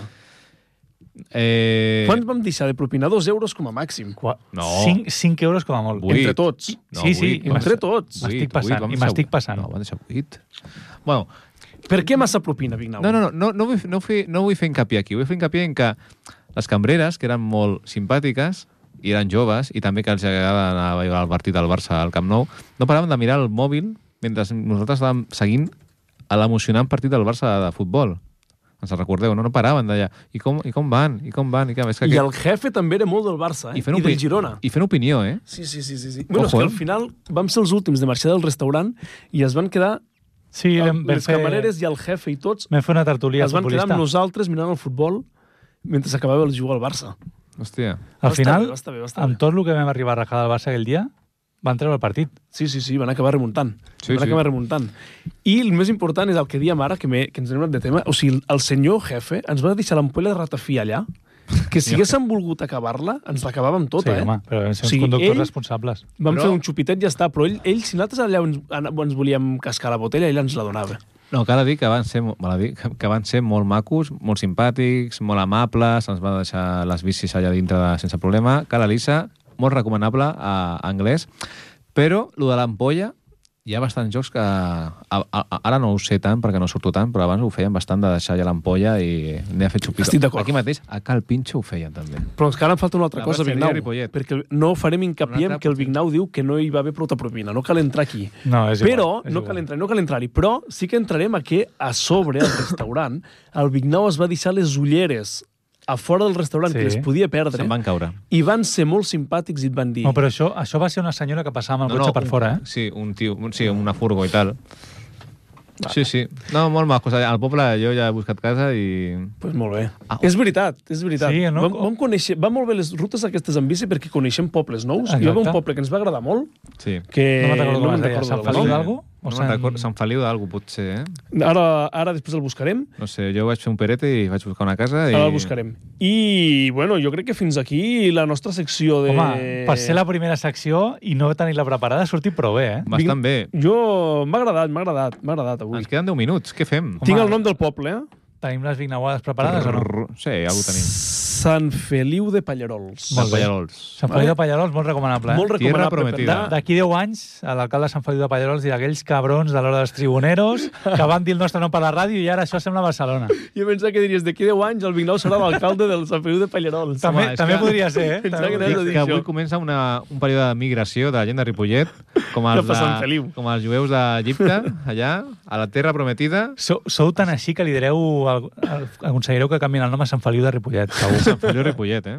S2: Eh...
S1: Quants vam deixar de propina? Dos euros com a màxim.
S3: Qua...
S2: No.
S3: 5, 5 euros com a molt.
S2: Vuit.
S1: Entre tots.
S2: No,
S3: Sí, sí,
S2: vuit,
S3: i
S2: vam
S1: Entre
S2: deixar-
S1: tots.
S3: M'estic
S2: vuit,
S3: passant,
S2: vam
S3: i
S2: deixar
S3: m'estic
S2: vuit.
S3: passant.
S2: No, van deixar 8. Bueno,
S1: Per què massa propina, Vignau?
S2: No, no, no, no, no, vull, no, vull, no vull fer hincapié aquí. Vull fer hincapié en que les cambreres, que eren molt simpàtiques, i eren joves, i també que els agradava anar a veure el partit del Barça al Camp Nou, no paraven de mirar el mòbil mentre nosaltres estàvem seguint a l'emocionant partit del Barça de, de futbol. Ens en recordeu, no? No paraven d'allà. I com, I com van? I com van? I, que, és que,
S1: I el jefe també era molt del Barça, eh? I, I del
S2: opi-
S1: Girona. I...
S2: I fent opinió, eh?
S1: Sí, sí, sí. sí, sí. Bueno, és
S2: Ojo,
S1: que
S2: eh?
S1: al final vam ser els últims de marxar del restaurant i es van quedar
S3: Sí, vam,
S1: el,
S3: vam
S1: Ah, les
S3: fer,
S1: camareres i el jefe i tots
S3: vam fer una tertúlia
S1: es van quedar
S3: futbolista.
S1: amb nosaltres mirant el futbol mentre s'acabava el jugar al Barça.
S2: Hòstia.
S3: Al
S1: Va estar
S3: final,
S1: bé, va estar bé, va estar bé.
S3: amb tot el que vam arribar a rajar del Barça aquell dia, van treure el partit.
S1: Sí, sí, sí, van acabar remuntant.
S2: Sí,
S1: Sí, van
S2: sí.
S1: acabar remuntant. I el més important és el que diem ara, que, me, que ens hem anat de tema. O sigui, el senyor jefe ens va deixar l'ampolla de ratafia allà, que si haguéssim volgut acabar-la, ens l'acabàvem tota,
S3: sí,
S1: eh?
S3: home, però vam ser
S1: O
S3: uns
S1: sigui,
S3: conductors
S1: ell-
S3: responsables.
S1: Vam
S2: Però-
S1: però... fer un xupitet i ja està, però ell, ell si nosaltres allà ens, ana- ens volíem cascar la botella, ell ens la donava.
S2: No, cal dir que van ser, mo- val a dir, que que van ser molt macos, molt simpàtics, molt amables, ens van deixar les bicis allà dintre de, sense problema. Cara lisa, molt recomanable a anglès. Però, lo de l'ampolla, hi ha bastants jocs que... A, a, a- ara no ho sé tant, perquè no surto tant, però abans ho feien bastant de deixar ja l'ampolla i anar a fer xupito.
S1: Estic d'acord.
S2: Aquí mateix, a Cal Pinxo ho feien, també.
S1: Però és que ara em falta una altra
S2: La
S1: cosa,
S2: Batxilleria
S1: Vignau,
S2: Ripollet.
S1: perquè no farem hincapié
S2: Una
S1: en
S2: altra
S1: que el Vignau diu que no hi va haver prou de propina, no cal entrar aquí.
S3: No, és igual,
S1: però
S3: és
S1: no
S3: igual.
S1: cal entrar, no cal entrar-hi, però sí que entrarem a que a sobre al restaurant el Vignau es va deixar les ulleres a fora del restaurant,
S3: Sí.
S1: que les podia
S2: Se'n
S1: perdre,
S2: van caure.
S1: i van ser molt simpàtics i et van dir...
S3: No, però això, això va ser una senyora que passava amb el no, cotxe no, per
S2: un-
S3: fora, eh?
S2: Sí, un tio, un, sí, una furgo i tal. Sí, sí. No, molt macos. Al poble jo ja he buscat casa i...
S1: Pues molt bé. Ah. És veritat, és veritat.
S3: Sí, no?
S1: vam, vam, conèixer, van molt bé les rutes aquestes en bici perquè coneixem pobles nous. Exacte. Hi va haver un
S3: Exacte.
S1: poble que ens va agradar molt,
S2: Sí.
S1: que
S3: No me'n recordo com
S1: me'n
S3: es deia,
S1: recordo
S3: Sant
S1: del
S3: Feliu
S1: nom.
S2: Sí.
S3: d'algú? O
S2: No
S3: Sant-
S2: Sant... Record... Sant Feliu d'algú, potser, eh?
S1: Ara, ara després el buscarem.
S2: No sé, jo vaig fer un perete i vaig buscar una casa i...
S1: Ara el buscarem. I, bueno, jo crec que fins aquí la nostra secció de...
S3: Home, per ser la primera secció i no tenir-la preparada, ha sortit prou bé, eh?
S2: Bastant bé.
S1: Jo... M'ha agradat, m'ha agradat, m'ha agradat avui.
S2: Ens queden 10 minuts, què fem?
S1: Tinc
S3: Home.
S1: el nom del poble, eh?
S3: Tenim les vignauades preparades o no?
S2: Sí, ja ho tenim.
S1: Sant Feliu de Pallerols.
S3: Molt
S2: Sant
S3: bé.
S2: Pallarols.
S3: Sant Feliu de Pallarols, molt recomanable, eh?
S1: Molt
S2: Tierra
S1: recomanable. per
S2: prometida.
S1: anar.
S3: D'aquí 10 anys, a l'alcalde de Sant Feliu de Pallarols dirà aquells cabrons de l'hora dels tribuneros que van dir el nostre nom per la ràdio i ara això sembla Barcelona.
S1: Jo pensava que diries, d'aquí 10 anys el Vignau serà l'alcalde del Sant Feliu de Pallerols.
S3: També,
S2: és
S3: també
S2: que-
S3: podria ser, eh?
S1: Pensava que
S3: També
S1: anaves
S3: podria
S1: a
S3: ser.
S1: dir
S2: que
S1: això.
S2: avui comença una, un període de migració de la gent de Ripollet, com els,
S1: Cap a Sant
S2: de,
S1: Feliu.
S2: com els jueus d'Egipte, allà, a la terra prometida.
S3: Sou, sou tan així que lidereu, aconseguireu que canviïn el nom a Sant Feliu de Ripollet, segur.
S2: Sant Feliu Ripollet, eh?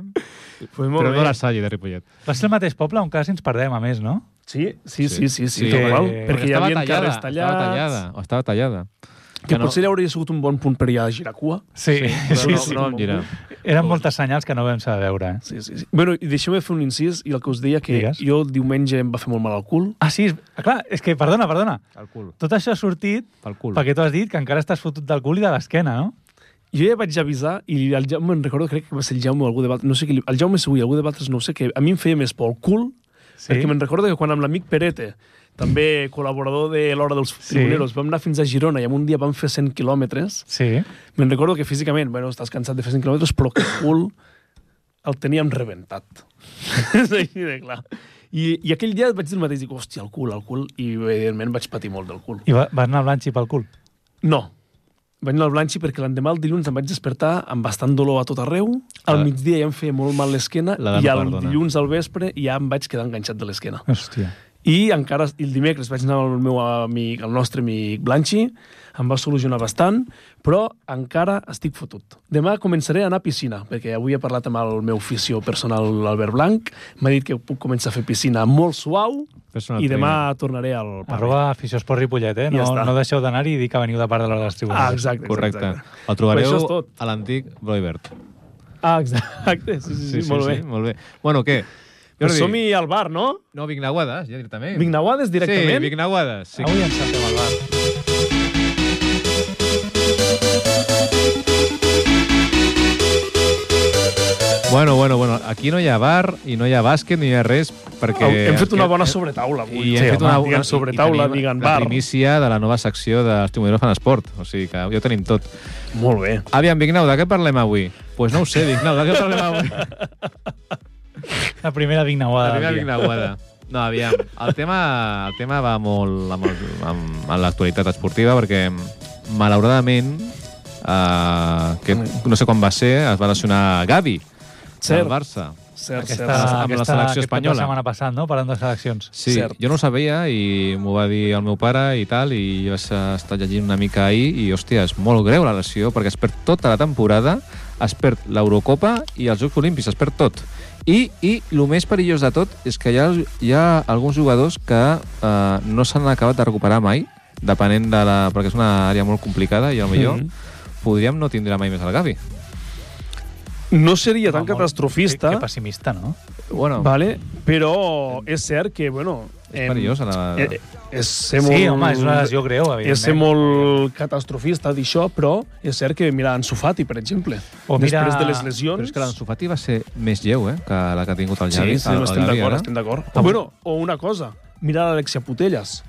S1: Pues molt
S2: Però
S1: bé.
S2: no la Salle de Ripollet.
S3: Va ser el mateix poble on quasi ens perdem, a més, no?
S1: Sí, sí, sí, sí, sí, sí,
S2: Sí.
S1: sí. Total,
S3: Eh,
S1: perquè hi
S2: estava
S1: havia carrers
S2: Estava
S1: tallats.
S2: tallada, o estava tallada.
S1: Que,
S2: Que no.
S1: potser ja hauria sigut un bon punt per ja girar cua.
S3: Sí, sí,
S1: però
S3: sí.
S1: no-
S3: sí.
S1: no-
S2: No, mira,
S3: Eren moltes senyals que no vam saber veure. Eh?
S1: Sí, sí, sí. Bueno, i deixeu-me fer un incís i el que us deia que
S3: Digues.
S1: jo diumenge em va fer molt mal al cul.
S3: Ah, sí, és- ah, clar, és que, perdona, perdona.
S2: pel cul,
S3: Tot això ha sortit
S2: pel cul.
S3: perquè tu has dit que encara estàs fotut del cul i de l'esquena, no?
S1: Jo ja vaig avisar i el Jaume, me'n recordo, crec que va ser el Jaume o algú de Baltres, no sé qui, li- el Jaume segur i algú de Baltres, no ho sé, que a mi em feia més por el cul, sí. perquè me'n recordo que quan amb l'amic Perete, també col·laborador de l'Hora dels
S3: Sí.
S1: Tribuneros, vam anar fins a Girona i en un dia vam fer 100 quilòmetres.
S3: Sí.
S1: Me'n recordo que físicament, bueno, estàs cansat de fer 100 quilòmetres, però que el cul el teníem rebentat. És així de clar. I, I aquell dia vaig dir el mateix, dic, hòstia, el cul, el cul, i evidentment vaig patir molt del cul.
S3: I va, va anar Blanchi pel cul.
S1: No, vaig anar al Blanchi perquè l'endemà, el dilluns, em vaig despertar amb bastant dolor a tot arreu, al
S2: La-
S1: migdia ja em feia molt mal l'esquena,
S2: La dama
S1: i el
S2: perdona.
S1: dilluns al vespre ja em vaig quedar enganxat de l'esquena.
S3: Hòstia.
S1: I encara, i el dimecres vaig anar amb el meu amic, el nostre amic Blanchi, em va solucionar bastant, però encara estic fotut. Demà començaré a anar a piscina, perquè avui he parlat amb el meu fisio personal, l'Albert Blanc, m'ha dit que puc començar a fer piscina molt suau,
S2: Personal
S1: i demà
S2: trainer.
S1: tornaré al pub.
S3: Arroba aficionesport Ripollet, eh?
S1: Ja
S3: No,
S1: està.
S3: no deixeu d'anar i dir que veniu de part de l'hora dels
S1: Ah,
S3: tribunals.
S1: exacte.
S2: Correcte.
S1: Exacte.
S2: El trobareu
S1: Però això és tot.
S2: a l'antic Bloibert.
S1: Ah, exacte. Sí, sí, sí, sí, sí molt bé.
S2: Sí, molt bé. Bueno, què?
S1: Però som-hi al bar, no?
S2: No, Vignaguades, ja directament.
S1: Vignaguades
S2: Sí,
S1: directament?
S2: Vignaguades. Sí.
S3: Avui ens saltem al bar.
S2: Bueno, bueno, bueno. Aquí no hi ha bar i no hi ha bàsquet ni hi ha res perquè...
S1: Hem fet una bona
S2: Eh,
S1: sobretaula avui.
S2: I hem fet una, una,
S1: diguem sobretaula,
S2: i tenim
S1: diguem
S2: La
S1: bar.
S2: primícia de la nova secció dels Timoneros fan esport. O sigui que ja ho tenim tot.
S1: Molt bé.
S2: Aviam, Vignau, de què parlem avui? Doncs pues no ho sé, Vignau, de què parlem avui?
S3: La primera
S2: La
S3: vignaguada.
S2: primera
S3: del dia.
S2: Vignaguada. No, aviam. El tema, el tema va molt amb, el, amb, amb l'actualitat esportiva perquè, malauradament, eh, que no sé quan va ser, es va lesionar Gavi,
S1: Cert.
S2: del Barça.
S1: Cert,
S3: Aquesta,
S1: cert, cert.
S2: amb la
S3: aquesta,
S2: selecció
S3: aquest cap de
S2: espanyola.
S3: setmana passat, no? Parlant de seleccions.
S2: Sí,
S1: Cert.
S2: jo no ho sabia i m'ho va dir el meu pare i tal, i vaig estar llegint una mica ahir i, hòstia, és molt greu la lesió perquè es perd tota la temporada, es perd l'Eurocopa i els Jocs Olímpics, es perd tot. I, i el més perillós de tot és que hi ha, hi ha alguns jugadors que eh, no s'han acabat de recuperar mai, depenent de la... perquè és una àrea molt complicada i potser mm
S1: Mhm.
S2: -hmm. podríem no tindre mai més el Gavi.
S1: No seria tan
S3: Va, molt-
S1: catastrofista,
S3: Que, que pessimista, no?
S2: Bueno,
S1: vale? però és cert que, bueno...
S2: és perillosa la...
S1: Eh, eh, és ser
S3: Sí,
S1: molt,
S3: home, és una lesió greu,
S1: És ser
S3: evidentment.
S1: molt catastrofista dir això, però és cert que mira Ansu Fati, per exemple.
S3: O mira-
S1: Després de les
S2: Però
S1: lesions...
S2: és que l'Ansu Fati va ser més lleu, eh, que la que ha tingut el
S1: Sí,
S2: Javi.
S1: sí, no, estem d'acord, estem d'acord.
S3: Ah,
S1: Bueno, o una cosa, mira l'Alexia Putellas.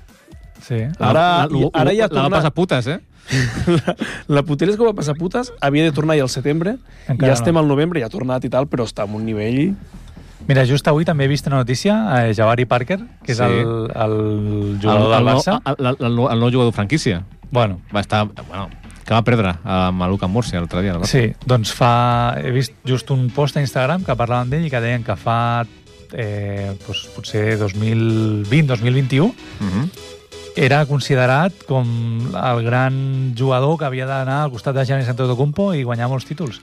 S3: Sí.
S1: Ara,
S2: la, la,
S1: ara ja ha
S2: La va
S1: tornat.
S2: passar putes, eh?
S1: La Putellas que va passar putes havia de tornar ja al setembre,
S3: Encara
S1: Encara ja estem
S3: no.
S1: al novembre, ja ha tornat i tal, però està en un nivell...
S3: Mira, just avui també he vist una notícia, eh, Jabari Parker, que és
S2: Sí.
S3: el, el jugador del Barça.
S2: El, el, el, nou- el nou jugador de franquícia.
S3: Bueno,
S2: Va estar... Bueno, que va perdre eh, amb el Luka Murcia l'altre dia. Sí.
S3: Sí, doncs fa... He vist just un post a Instagram que parlaven d'ell i que deien que fa eh, doncs, potser 2020-2021
S2: Uh -huh.
S3: era considerat com el gran jugador que havia d'anar al costat de Giannis Antetokounmpo i guanyar molts títols.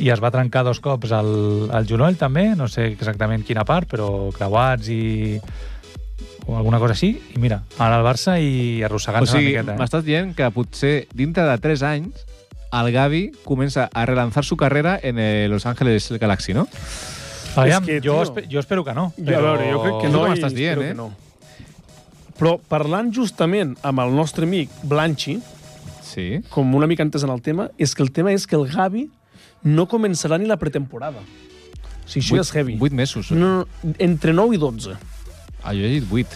S3: I es va trencar dos cops el, el genoll també, no sé exactament quina part, però creuats i o alguna cosa així, i mira, ara al Barça i
S2: O
S3: arrossegant-se
S2: sigui,
S3: una miqueta. eh.
S2: m'estàs dient que potser dintre de 3 anys el Gavi comença a relanzar su carrera en el Los Angeles Galaxy, no?
S3: Eh? Aviam,
S1: És que,
S3: jo,
S1: tio,
S3: espe jo espero que no.
S1: Jo, a veure, jo crec que no.
S2: Tu com
S1: i
S2: estàs dient,
S1: espero
S2: eh?
S1: que No. Però parlant justament amb el nostre amic Blanchi,
S2: Sí.
S1: com una mica antes en el tema, és que el tema és que el Gavi no començarà ni la pretemporada. O sigui, això ja és heavy.
S2: 8 mesos. No.
S1: No, no, entre 9 i 12.
S2: Ah, jo he dit 8.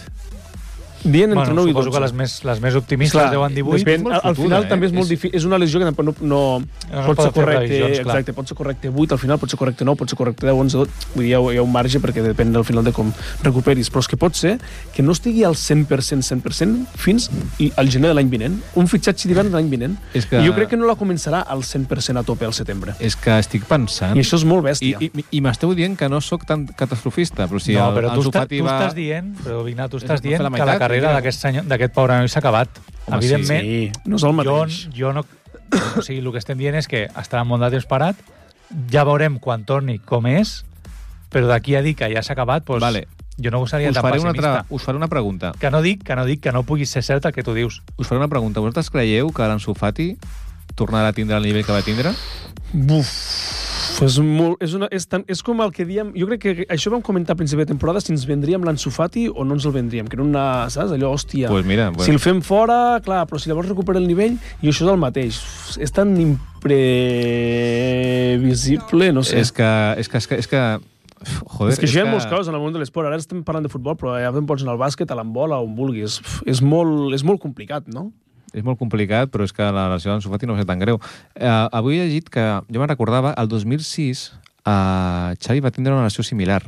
S1: Dient entre
S3: Bueno,
S1: 9 i
S3: suposo
S1: 12.
S3: que les més, les més optimistes Clar, deuen 18.
S1: Depèn,
S2: És molt
S1: al, al
S2: fotuda,
S1: final
S2: eh?
S1: també és molt
S2: És-
S1: difícil. És una lesió que tampoc no, no,
S3: No
S1: pot
S3: poden
S1: ser
S3: fer
S1: correcte,
S3: previsions, clar.
S1: exacte, pot ser correcte 8, al final pot ser correcte 9, pot ser correcte 10, 11, 12. Vull dir, hi ha, hi ha un marge perquè depèn del final de com recuperis. Però és que pot ser que no estigui al 100%, 100% fins i- al gener de l'any vinent. Un fitxatge d'hivern de l'any vinent.
S2: És que-
S1: I jo crec que no la començarà al 100% a tope al setembre.
S2: És que estic pensant...
S1: I això és molt
S2: I,
S1: bèstia.
S2: i, i m'esteu dient que no sóc tan catastrofista, però si
S3: no,
S2: el,
S3: però tu,
S2: Ansu
S3: està,
S2: Fati
S3: tu
S2: va...
S3: estàs dient, però Vigna, tu estàs
S2: va fer
S3: dient
S2: la
S3: que la
S2: meitat,
S3: carrera
S2: mira.
S3: d'aquest senyor, d'aquest pobre noi s'ha acabat.
S2: Home, sí,
S3: Evidentment,
S1: sí, no és el mateix.
S3: jo, jo no... O sigui, el que estem dient és que estarà molt de temps parat, ja veurem quan torni com és, però d'aquí a dir que ja s'ha acabat, doncs,
S2: Vale.
S3: Jo no seria
S2: us
S3: tan
S2: faré, una
S3: pessimista.
S2: altra, us faré una pregunta.
S3: Que no dic, que no dic que no pugui ser cert el que tu dius.
S2: Us faré una pregunta. Vosaltres creieu que l'Ansu Fati tornarà a tindre el nivell que va tindre?
S1: Buf, és, molt, és, una, és, tan, és com el que diem... Jo crec que això vam comentar a principi de temporada, si ens vendríem l'Ansu Fati o no ens el vendríem, que era una, saps, allò, hòstia...
S2: Pues mira,
S1: Si el fem fora, clar, però si llavors recupera el nivell, i això és el mateix. És tan imprevisible, no sé.
S2: és que... És que, és que, és que uf, joder,
S1: és que això hi ha molts casos en el món de l'esport. Ara estem parlant de futbol, però ja te'n pots anar al bàsquet, a l'embola, on vulguis. Uf, És molt, és molt complicat, no?
S2: És molt complicat, però és que la lesió d'Ansu Fati no va ser tan greu. Eh, avui he llegit que, jo me'n recordava, el 2006 eh, Xavi va tindre una lesió similar.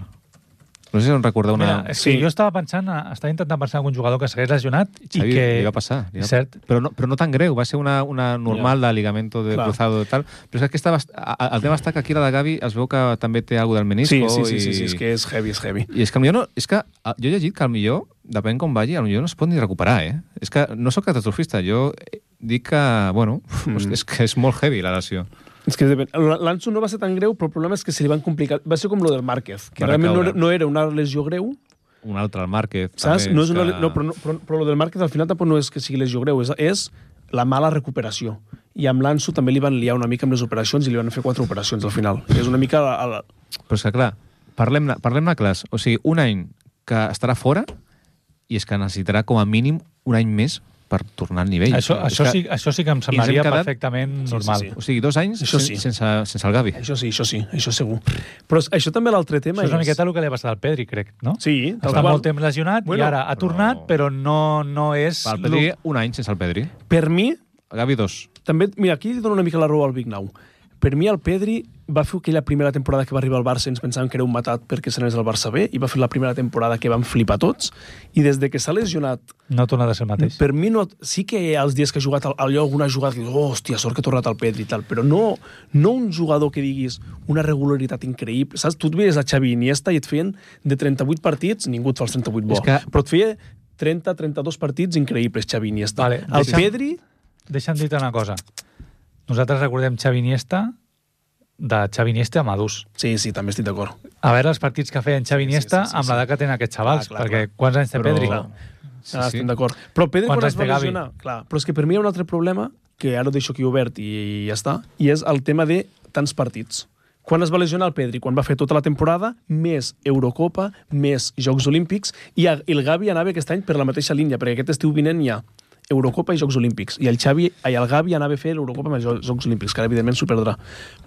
S2: No sé si en recordeu una...
S3: Mira, és que
S1: sí.
S3: jo estava pensant, a- estava intentant pensar en algun jugador que s'hagués lesionat
S2: Xavi,
S3: i que...
S2: li va passar. Li va...
S3: És cert.
S2: Però, no, però no tan greu, va ser una, una normal de ligamento de
S1: Clar.
S2: cruzado i tal. Però és que aquesta, bast- a- a- el tema està que aquí la de Gavi es veu que també té alguna del menisco.
S1: Sí, sí, sí,
S2: i...
S1: sí, sí, és que és heavy, és heavy.
S2: I és que, potser no, és que ah, jo he llegit que millor, depèn com vagi, potser no es pot ni recuperar, eh? És que no sóc catastrofista, jo dic que, bueno, mm. és que és molt heavy la lesió.
S1: És que depèn. L'Anso no va ser tan greu, però el problema és que se li van complicar. Va ser com lo del Márquez, que
S2: Va
S1: realment no
S2: recaure.
S1: era, no era una lesió greu,
S2: Un altre, el Márquez.
S1: saps?
S2: també,
S1: No és una,
S2: que-
S1: no, però, no, però, però lo del Márquez al final tampoc no és que sigui lesió greu, és, és la mala recuperació. I amb l'Anso també li van liar una mica amb les operacions i li van fer quatre operacions al final. És una mica... La, la...
S2: Però és que, clar, parlem-ne parlem clars. O sigui, un any que estarà fora i és que necessitarà com a mínim un any més per tornar al nivell.
S3: Això,
S2: És
S3: això,
S2: que-
S3: sí, això sí que em
S2: ens
S3: semblaria
S2: hem quedat-
S3: perfectament normal.
S1: sí.
S2: O sigui, dos anys
S1: Això
S2: sen,
S1: sí.
S2: sense, sense el Gavi.
S1: Això sí, això sí, això segur. Però és- això també l'altre tema
S3: Això és una
S1: és...
S3: miqueta el que li ha passat al Pedri, crec, no?
S1: Sí, tal
S3: Està
S1: qual.
S3: molt temps lesionat
S1: Bueno,
S3: bueno, i ara ha tornat, però, no, no és...
S2: El Pedri,
S3: lo-
S2: un any sense el Pedri.
S1: Per mi,
S2: El Gavi, dos.
S1: també... Mira, aquí li dono una mica la raó al Big Now. Per mi el Pedri va fer aquella primera temporada que va arribar al Barça i ens pensàvem que era un matat perquè se n'és al Barça B i va fer la primera temporada que vam flipar tots i des de que s'ha lesionat
S3: No ha tornat a ser el mateix.
S1: per mi no, sí que els dies que ha jugat al- allò alguna jugada que dius, oh, hòstia, sort que ha tornat al Pedri i tal, però no, no un jugador que diguis una regularitat increïble. Saps? Tu et veies a Xavi Iniesta i et feien de 38 partits, ningú et fa els 38 bo,
S2: És que-
S1: però et feia 30-32 partits increïbles Xavi Iniesta.
S3: Vale,
S1: el
S3: deixa'm-
S1: Pedri,
S3: Deixa'm dir-te una cosa. Nosaltres recordem Xavi Iniesta de Xavi Iniesta a Madús.
S1: sí, sí, també estic d'acord.
S3: A veure els partits que feien Xavi
S1: Sí, sí,
S3: Iniesta
S1: sí, sí,
S3: amb
S1: sí. Ah,
S3: l'edat que tenen aquests xavals,
S1: Clar, clar,
S3: perquè quants anys té
S2: Però-
S3: Pedri?
S2: Clar.
S1: Sí, ah, estem d'acord. Però Pedri
S3: Quants
S1: quan
S3: anys
S1: es va
S3: té Gavi?
S1: lesionar... Clar, però és que per mi hi ha un altre problema, que ara ho deixo aquí obert i, i ja està, i és el tema de tants partits. Quan es va lesionar el Pedri? Quan va fer tota la temporada, més Eurocopa, més Jocs Olímpics, i a- i el Gavi anava aquest any per la mateixa línia, perquè aquest estiu vinent hi ha Eurocopa i Jocs Olímpics, i el, Xavi, i el Gavi anava a fer l'Eurocopa amb els Jo- Jocs Olímpics, que ara evidentment s'ho perdrà.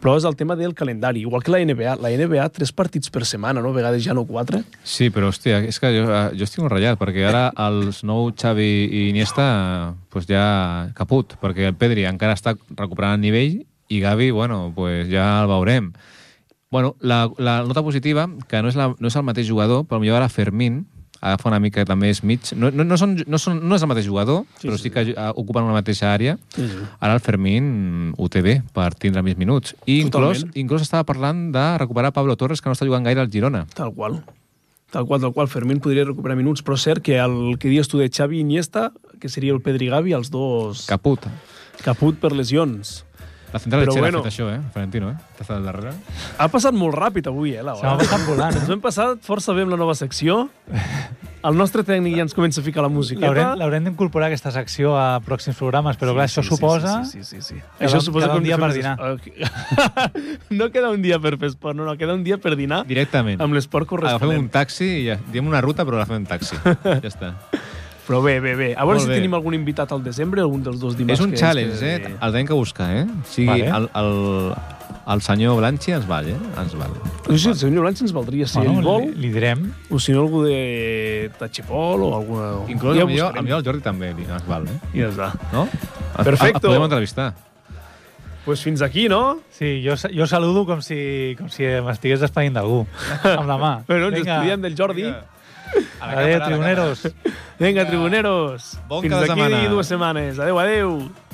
S1: Però és el tema del calendari, igual que la NBA. La NBA, tres partits per setmana, no? a vegades ja no quatre.
S2: Sí, però hòstia, és que jo, eh, jo estic molt ratllat, perquè ara els nou Xavi i Iniesta pues ja caput, perquè el Pedri encara està recuperant el nivell i Gavi, bueno, pues ja el veurem. Bueno, la, la nota positiva, que no és, la, no és el mateix jugador, però millor ara Fermín, agafa una mica també és mig... No, no, no, són, no, són, no és el mateix jugador, sí, però sí, sí que eh, ocupen una mateixa àrea.
S1: Sí, sí.
S2: Ara el Fermín ho té bé per tindre més minuts. I inclòs,
S1: Totalment.
S2: inclòs estava parlant de recuperar Pablo Torres, que no està jugant gaire al Girona.
S1: Tal qual. Tal qual, tal qual. Fermín podria recuperar minuts, però és cert que el que dius tu de Xavi i Iniesta, que seria el Pedri i Gavi, els dos Cap.
S2: Caput.
S1: caput per lesions.
S2: La central
S1: Però
S2: Però bueno.
S1: bueno.
S2: ha fet això, eh? Florentino, eh? T'ha estat al darrere.
S1: Ha passat molt ràpid avui, eh, la
S3: Se m'ha
S1: hora.
S3: passat volant.
S1: Ens hem passat força bé amb la nova secció. El nostre tècnic ja ens comença a ficar la musiqueta.
S3: L'haurem l'haurem d'incorporar aquesta secció a pròxims programes, però clar, això suposa...
S1: Sí, sí, sí, sí, sí.
S3: Queda
S1: Això
S3: un-
S1: suposa
S3: queda un
S1: que
S3: dia
S1: hem de
S3: per
S1: fer més- Ok. no queda un dia per fer esport, no, no, queda un dia per dinar
S2: Directament.
S1: amb l'esport
S2: Agafem
S1: corresponent.
S2: un taxi i ja, diem una ruta, però agafem un taxi. ja està.
S1: Però bé, bé, bé. A veure
S2: Molt
S1: si
S2: bé.
S1: tenim algun invitat al desembre, algun dels dos dimarts.
S2: És un
S1: que ens
S2: challenge,
S1: queda
S2: eh?
S1: de-
S2: El tenim que buscar, eh? O sigui,
S3: Vale.
S2: vale. el, el, el senyor Blanchi ens val, eh? Ens val.
S1: No sé si el senyor Blanch ens valdria,
S3: Ah,
S1: si bueno, ell vol,
S3: li, li direm.
S1: o si no algú de Tachipol o alguna...
S2: Inclús, ja millor,
S1: buscarem.
S2: el millor el Jordi també li ens val, eh?
S1: I ja està.
S2: No? El-
S1: Perfecto.
S2: El, el podem entrevistar.
S1: Doncs pues fins aquí, no?
S3: Sí, jo, sa- jo saludo com si, com si m'estigués despedint d'algú, amb la mà.
S1: Bueno, ens despediem del Jordi.
S2: Vinga. A la càmera, a la
S3: Adéu, tribuneros.
S1: Vinga, tribuneros.
S2: Bon
S1: fins
S2: cada
S1: aquí
S2: setmana.
S1: dues setmanes. Adeu, adeu.